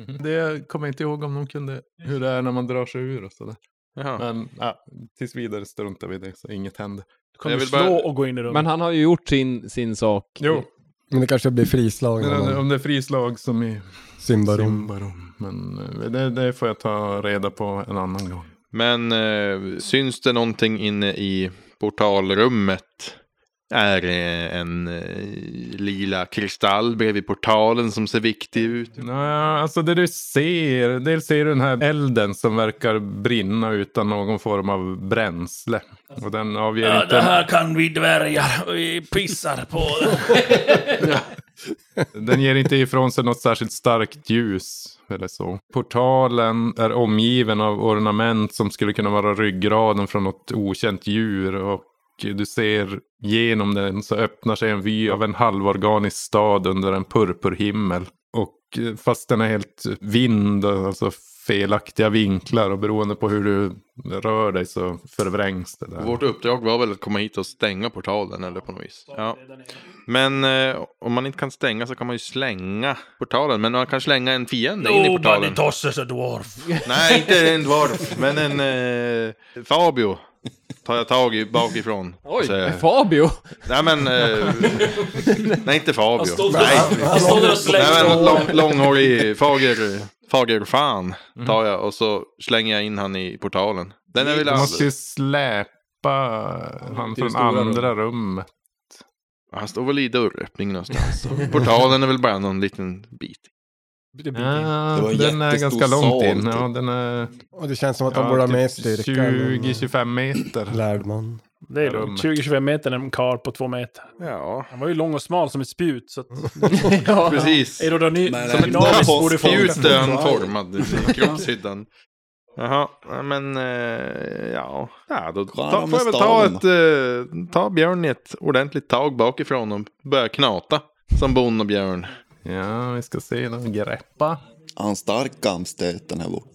S7: Mm-hmm.
S3: Det jag kommer inte ihåg om de kunde hur det är när man drar sig ur och sådär.
S9: Jaha.
S3: Men ja, tills vidare struntar vi i det så inget händer.
S7: Du kommer
S9: Jag vill
S7: slå
S9: bara-
S7: och gå in i rummet.
S5: Men han har ju gjort sin, sin sak.
S3: Jo,
S4: Men det kanske blir frislag
S3: men om det-
S4: av
S3: om det är frislag som i
S4: Simbarom.
S3: Simbarom. Men eh, det, det får jag ta reda på en annan gång.
S9: Men eh, syns det någonting inne i portalrummet? är eh, en eh, lila kristall bredvid portalen som ser viktig ut.
S7: Mm.
S3: Nej, alltså det du ser, dels ser du den här elden som verkar brinna utan någon form av bränsle. Och den avger
S7: Alltså. Ja,
S3: inte...
S7: det här kan vi dvärgar. Vi pissar på
S3: Den ger inte ifrån sig något särskilt starkt ljus eller så. Portalen är omgiven av ornament som skulle kunna vara ryggraden från något okänt djur. Och du ser genom den så öppnar sig en vy av en halvorganisk stad under en purpurhimmel. Och eh, fast den är helt vind, alltså felaktiga vinklar och beroende på hur du rör dig så förvrängs det där.
S9: Vårt uppdrag var väl att komma hit och stänga portalen eller på något vis. Ja. Men eh, om man inte kan stänga så kan man ju slänga portalen. Men man kan slänga en fiende in i portalen.
S7: tosses a dwarf.
S9: Nej, inte en dwarf, men en eh, Fabio. Tar jag tag i bakifrån.
S5: Oj,
S9: Så, eh,
S5: Fabio!
S9: nej men... Eh, nej, inte Fabio. Nej,
S7: Han står där och
S9: nej men
S7: slänger
S9: lång, långhårig fager, fager fan
S3: Mm.
S9: tar jag och så slänger jag in han i portalen. Den är väl
S3: Du
S9: all-
S3: måste ju släpa han
S5: Till det
S3: från
S5: stora
S3: andra rummet.
S9: Han står väl i dörröppningen någonstans. Portalen är väl bara någon liten bit.
S3: Ja,
S2: Det var en
S3: den är
S2: jättestor
S3: ganska långt
S2: sal,
S3: in.
S2: typ.
S3: Ja, den är
S4: Och det känns som att de borde
S3: ja,
S4: ha med
S3: typ
S4: styrka.
S3: 20-25 meter.
S4: Lärd man.
S7: Det är lugnt. 20-25 meter är en karl på två meter.
S9: Ja,
S7: Han var ju lång och smal som ett spjut. Så att
S6: Mm.
S9: precis.
S2: Nej,
S7: aerodynamiskt
S2: nej,
S7: dynamiskt
S2: nej.
S7: borde funka.
S9: Spjutet är han formad i kroppshyddan. Jaha, ja, men eh, ja. ja då
S2: Stjärna
S9: ta,
S2: med
S9: får jag väl ta,
S2: staven.
S9: ett, eh, ta björn i ett ordentligt tag bakifrån och börja knata. Som bon och björn.
S3: Ja, vi ska se. Den greppa.
S2: Har han stark gamstöt den här borta?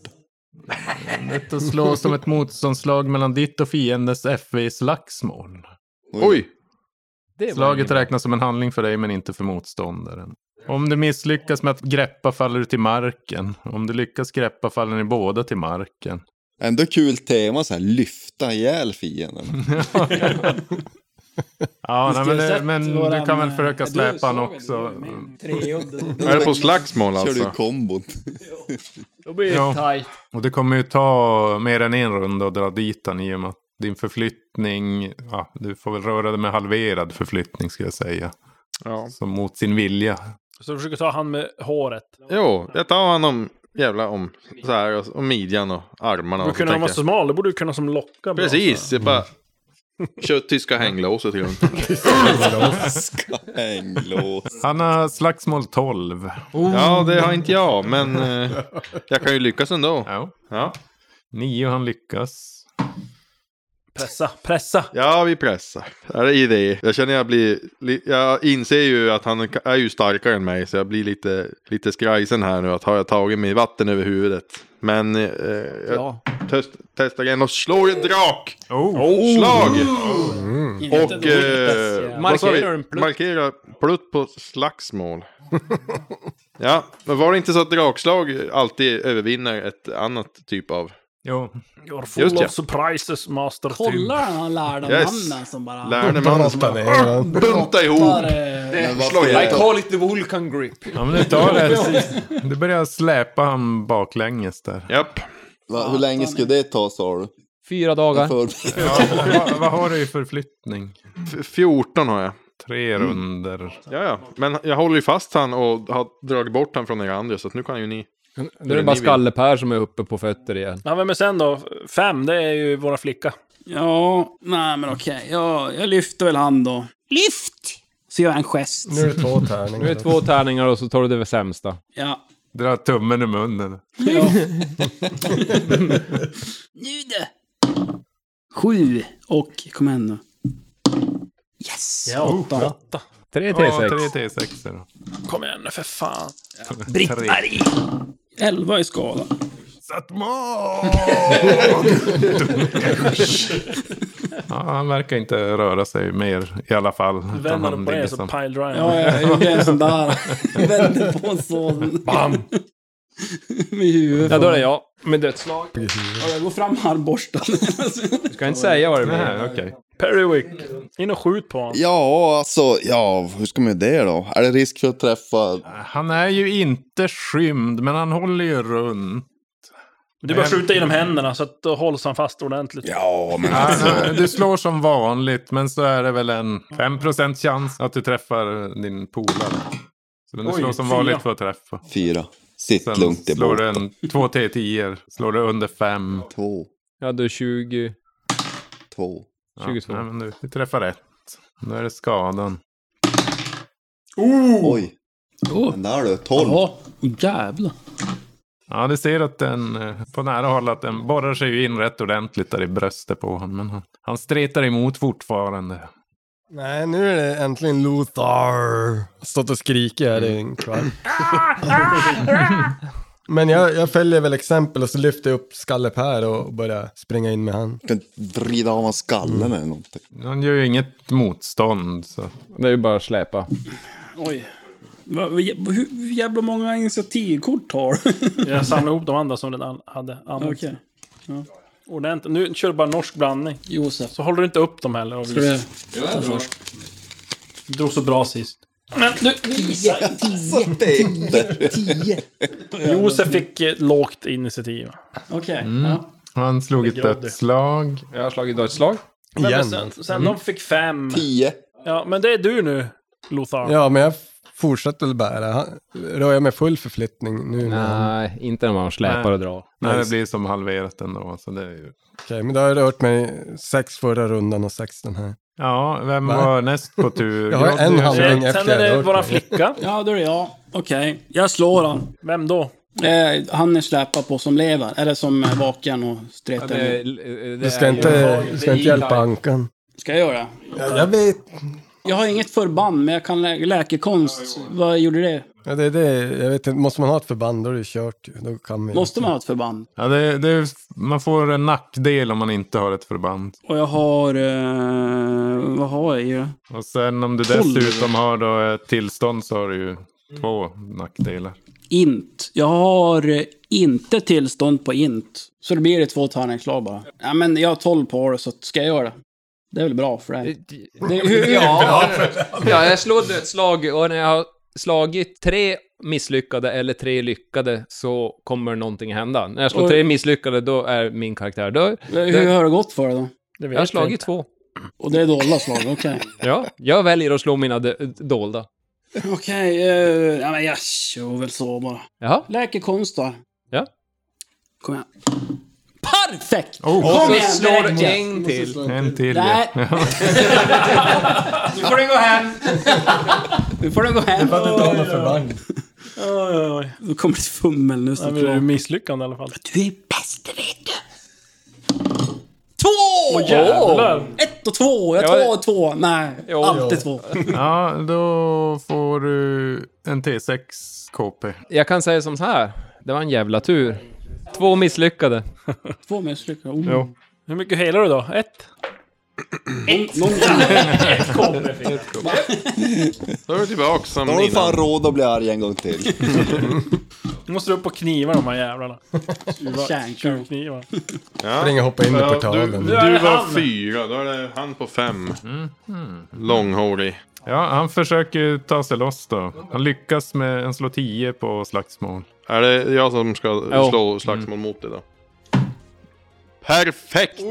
S3: Lätt att slå som ett motståndslag mellan ditt och fiendens FV i slagsmål.
S9: Oj!
S5: Det var
S3: Slaget räknas som en handling för dig men inte för motståndaren. Om du misslyckas med att greppa faller du till marken. Om du lyckas greppa faller ni båda till marken.
S2: Ändå kul tema så här, lyfta ihjäl fienden.
S3: Ja, nej, men, det,
S6: Sett
S3: men
S6: våran-
S3: eh, du kan väl försöka
S6: Ja,
S5: eh,
S6: du
S3: släpa han
S6: såg
S3: också. Mm.
S6: den, du var ju med. Tre udden.
S9: Är det på slagsmål
S2: Kör du
S9: alltså?
S2: kombon?
S5: Då blir det
S3: Ja.
S5: tajt.
S3: Och det kommer ju ta mer än en runda att dra dit han i och med att din förflyttning, ja, du får väl röra dig med halverad förflyttning ska jag säga.
S9: Ja.
S3: Som mot sin vilja.
S7: Så försöker ta han med håret.
S9: Jo, jag tar han om jävla om så här och, och midjan och armarna.
S7: Då
S9: och så
S7: kunde han vara
S9: tänker jag-
S7: så smal, då borde du kunna som locka. bra.
S9: Precis, jag bara...
S2: Mm.
S9: Kör tyska hänglåset runt.
S2: Hänglås.
S3: Han har slagsmål 12.
S9: Ja, det har inte jag, men eh, jag kan ju lyckas ändå.
S3: Ja.
S9: Ja,
S3: Nio han lyckas.
S7: Pressa, pressa.
S9: ja vi pressar. Är det idé? Jag känner jag blir... li- Jag inser ju att han är ju starkare än mig, så jag blir lite, lite skrajsen här nu. Att har jag tagit mig vatten över huvudet? Men eh, jag
S8: Ja.
S9: test, testar igen och slår en drak!
S3: Oh.
S9: Slag!
S6: Inte
S9: Och...
S6: dåligt.
S9: Eh, vad sa vi?
S5: Markerar en plutt.
S9: Markerar plutt på slagsmål. ja, men var det inte så att drakslag alltid övervinner ett annat typ av...
S3: Jo.
S7: You're full
S9: Just
S7: of
S9: ja.
S7: surprises, master.
S6: Kolla den här lärda
S9: Yes.
S6: mannen som bara...
S9: Lärde man som
S4: Brotta ner den.
S9: bunta ihop.
S6: Där, eh,
S9: Slå ihjäl.
S5: call it the Vulcan grip.
S3: Ja men du tar det. Du börjar släpa han baklänges där.
S9: Japp.
S2: Va, hur länge skulle det ta sa du?
S5: Fyra dagar.
S2: För...
S3: Vad, vad har du i förflyttning?
S9: F- 14 har jag.
S3: Tre runder.
S9: Ja, ja. Men jag håller ju fast han och har dragit bort han från er andra så att nu kan ju ni.
S5: Nu är det bara Skalle-Per som är uppe på fötter igen.
S7: Ja, vem är sen då? Fem, det är ju våra flicka.
S6: Ja, nej men okej. Ja, jag lyfter väl han då. Lyft! Så gör jag en gest.
S4: Nu är det två tärningar.
S5: Nu är det två tärningar och så tar du det sämsta.
S6: Ja.
S3: Dra tummen i munnen.
S6: Nu det! Sju och, kom igen nu. Yes! åtta.
S5: Oh, Tre
S3: Ja,
S5: T6.
S3: tre T6. er då.
S7: Kom igen nu för fan.
S3: Tre.
S6: Elva i skala.
S3: Ja, han verkar inte röra sig mer i alla fall. utan
S7: Vänder
S3: han
S7: på
S3: ligger
S7: det så
S3: som-
S7: pile driver.
S6: Ja, jag gjorde en sån där. Vände på en sån. Bam! Med huvudet.
S5: Ja, då är det jag. Med dödsslag.
S6: Ja, jag går fram med armborsten.
S5: Du ska inte säga vad det blir.
S3: Nej, okej.
S7: Perrywick. In och skjut på honom.
S2: Ja, alltså, ja, hur ska man göra det då? Är det risk för att träffa?
S3: Han är ju inte skymd, men han håller ju runt.
S7: Men du bara skjuta genom händerna så att då hålls han fast ordentligt.
S2: Ja, men
S3: Nej, nej,
S2: alltså.
S3: du slår som vanligt, men så är det väl en 5% chans att du träffar din polare. Så men du
S7: Oj,
S3: slår som
S7: fyra.
S3: vanligt för att träffa.
S2: Fyra. Sitt
S3: Sen
S2: lugnt, det är
S3: slår
S2: borta.
S3: du en 2 T10, slår du under 5.
S2: Två,
S5: Ja, du är 20...
S2: två.
S5: 22.
S3: nej, men du, du träffar rätt. Nu är det skadan.
S2: Oj.
S6: Oh.
S2: Den där du, tolv.
S6: Ja, jävlar.
S3: Ja, du ser att den eh, på nära håll att den borrar sig ju in rätt ordentligt där i bröstet på honom. Men han, han stretar emot fortfarande.
S4: Nej, nu är det äntligen Lothar. Stått och skrikit här i en kvart. Men jag, jag följer väl exempel och så lyfter jag upp Skalle Per och börjar springa in med han. Mm.
S2: Kan vrida av hans skallen eller någonting.
S3: Han gör ju inget motstånd. Så.
S5: Det är ju bara att släpa.
S6: Oj. Va- va- Hur hur jävla många initiativkort har du?
S7: Jag samlar ihop de andra som redan hade använt.
S6: Okej.
S7: Ordentligt. Nu kör du bara norsk blandning.
S6: Josef.
S7: Så håller du inte upp dem heller. Och
S6: Ska vi...
S7: Du drog så bra sist. Men du, Josef fick eh, lågt initiativ.
S6: Okej. Ja.
S3: Mm. Han slog ett
S7: Groddy.
S3: dött slag.
S5: Mm. Jag har slagit då ett slag.
S7: Men,
S4: Igen.
S7: men sen sen de fick fem.
S2: Tio.
S7: Ja, men det är du nu, Lothar.
S4: Ja, men jag fortsätter väl bära. Han- Rör jag med full förflyttning nu? med han?
S5: Nej, inte när man släpar
S3: Nej.
S5: och drar.
S3: Nej, det blir som halverat ändå. Så det är ju...
S4: Okej, men då har jag rört mig sex förra rundan och sex den här.
S3: Ja, vem
S4: Va?
S3: var näst på tur?
S4: Jag har
S3: Groddy,
S4: en
S3: eller?
S4: hand.
S7: Eh,
S4: Efter
S7: Sen är
S4: jag
S7: det
S4: rört
S7: våran
S4: mig.
S7: flicka.
S6: ja, då är det jag. Okej. Jag slår han.
S7: Vem då?
S6: Eh, han är släpad på som lever. Eller som är vaken och stretar.
S4: Du ska inte, du ska inte hjälpa Ankan.
S6: Ska jag göra?
S4: Ja, jag vet.
S6: Jag har inget förband, men jag kan lä- läkekonst. Vad gjorde det?
S4: Ja, det är det. Jag vet inte. Måste man ha ett förband då är det kört. ju. Då kan vi.
S6: Måste man ha ett förband?
S3: Ja, det, det, man får en nackdel om man inte har ett förband.
S6: Och jag har... Eh, vad har jag i det?
S3: Och sen om du
S6: Tolv.
S3: dessutom har då ett tillstånd så har du ju två nackdelar.
S6: Int. Jag har eh, inte tillstånd på int. Så det blir det två tärningsslag bara. Ja, men jag har 12 på det, så ska jag göra det? Det är väl bra för dig?
S5: Ja, ja, jag slår ett slag och när jag har slagit tre misslyckade eller tre lyckade så kommer någonting hända. När jag slår
S6: Och-
S5: tre misslyckade då är min karaktär död.
S6: Hur har det gått för dig då?
S7: Det vet
S5: Jag har
S7: jag
S5: slagit
S7: inte.
S5: två.
S6: Och det är dolda slag, okej.
S5: Ja, jag väljer att slå mina d- dolda.
S6: Okej, eh, ja men jag kör väl så bara.
S5: Jaha.
S6: Läkekonst då.
S5: Ja.
S6: Kom igen. Perfekt!
S3: Oh,
S6: Kom
S5: Så
S6: igen,
S5: slår
S6: direkt
S5: du
S6: igen.
S5: en till.
S3: en till. ja.
S6: Nej. nu får du gå hem. nu får du gå hem.
S4: ha förband.
S7: Oj, oj, oj.
S6: Nu kommer ett fummel nu.
S7: Nej,
S6: Så
S7: men Du är
S6: du
S7: misslyckande i alla fall.
S6: är bäst, det vet du. Två!
S7: Jävlar!
S6: Ett och två. Jag
S5: Ja,
S6: tar två. Nej,
S5: Jo.
S6: alltid två.
S3: ja, då får du en T6 KP.
S5: Jag kan säga som så här. Det var en jävla tur. Två misslyckade.
S6: Två misslyckade. Oh.
S3: Jo.
S7: Hur mycket helar du då? Ett?
S6: Någon
S9: Då är du tillbaka
S2: Då
S9: som
S2: har du fan
S9: innan.
S2: råd att bli arg en gång till.
S7: Nu måste du upp och kniva de här jävlarna.
S6: kärnkör.
S7: Tjuvknivar.
S9: Ja.
S4: Springa och hoppa in i
S9: Ja,
S4: portalen.
S9: Du,
S7: Nu är
S9: du
S7: det
S9: var
S7: han.
S9: fyra, då är det han på fem.
S5: Mhm.
S9: Långhårig.
S3: Ja, han försöker ju ta sig loss då. Han lyckas med, han slår 10 på slagsmål.
S9: Är det jag som ska
S5: Ja.
S9: slå slagsmål mot dig då?
S5: Mm.
S9: Perfekt!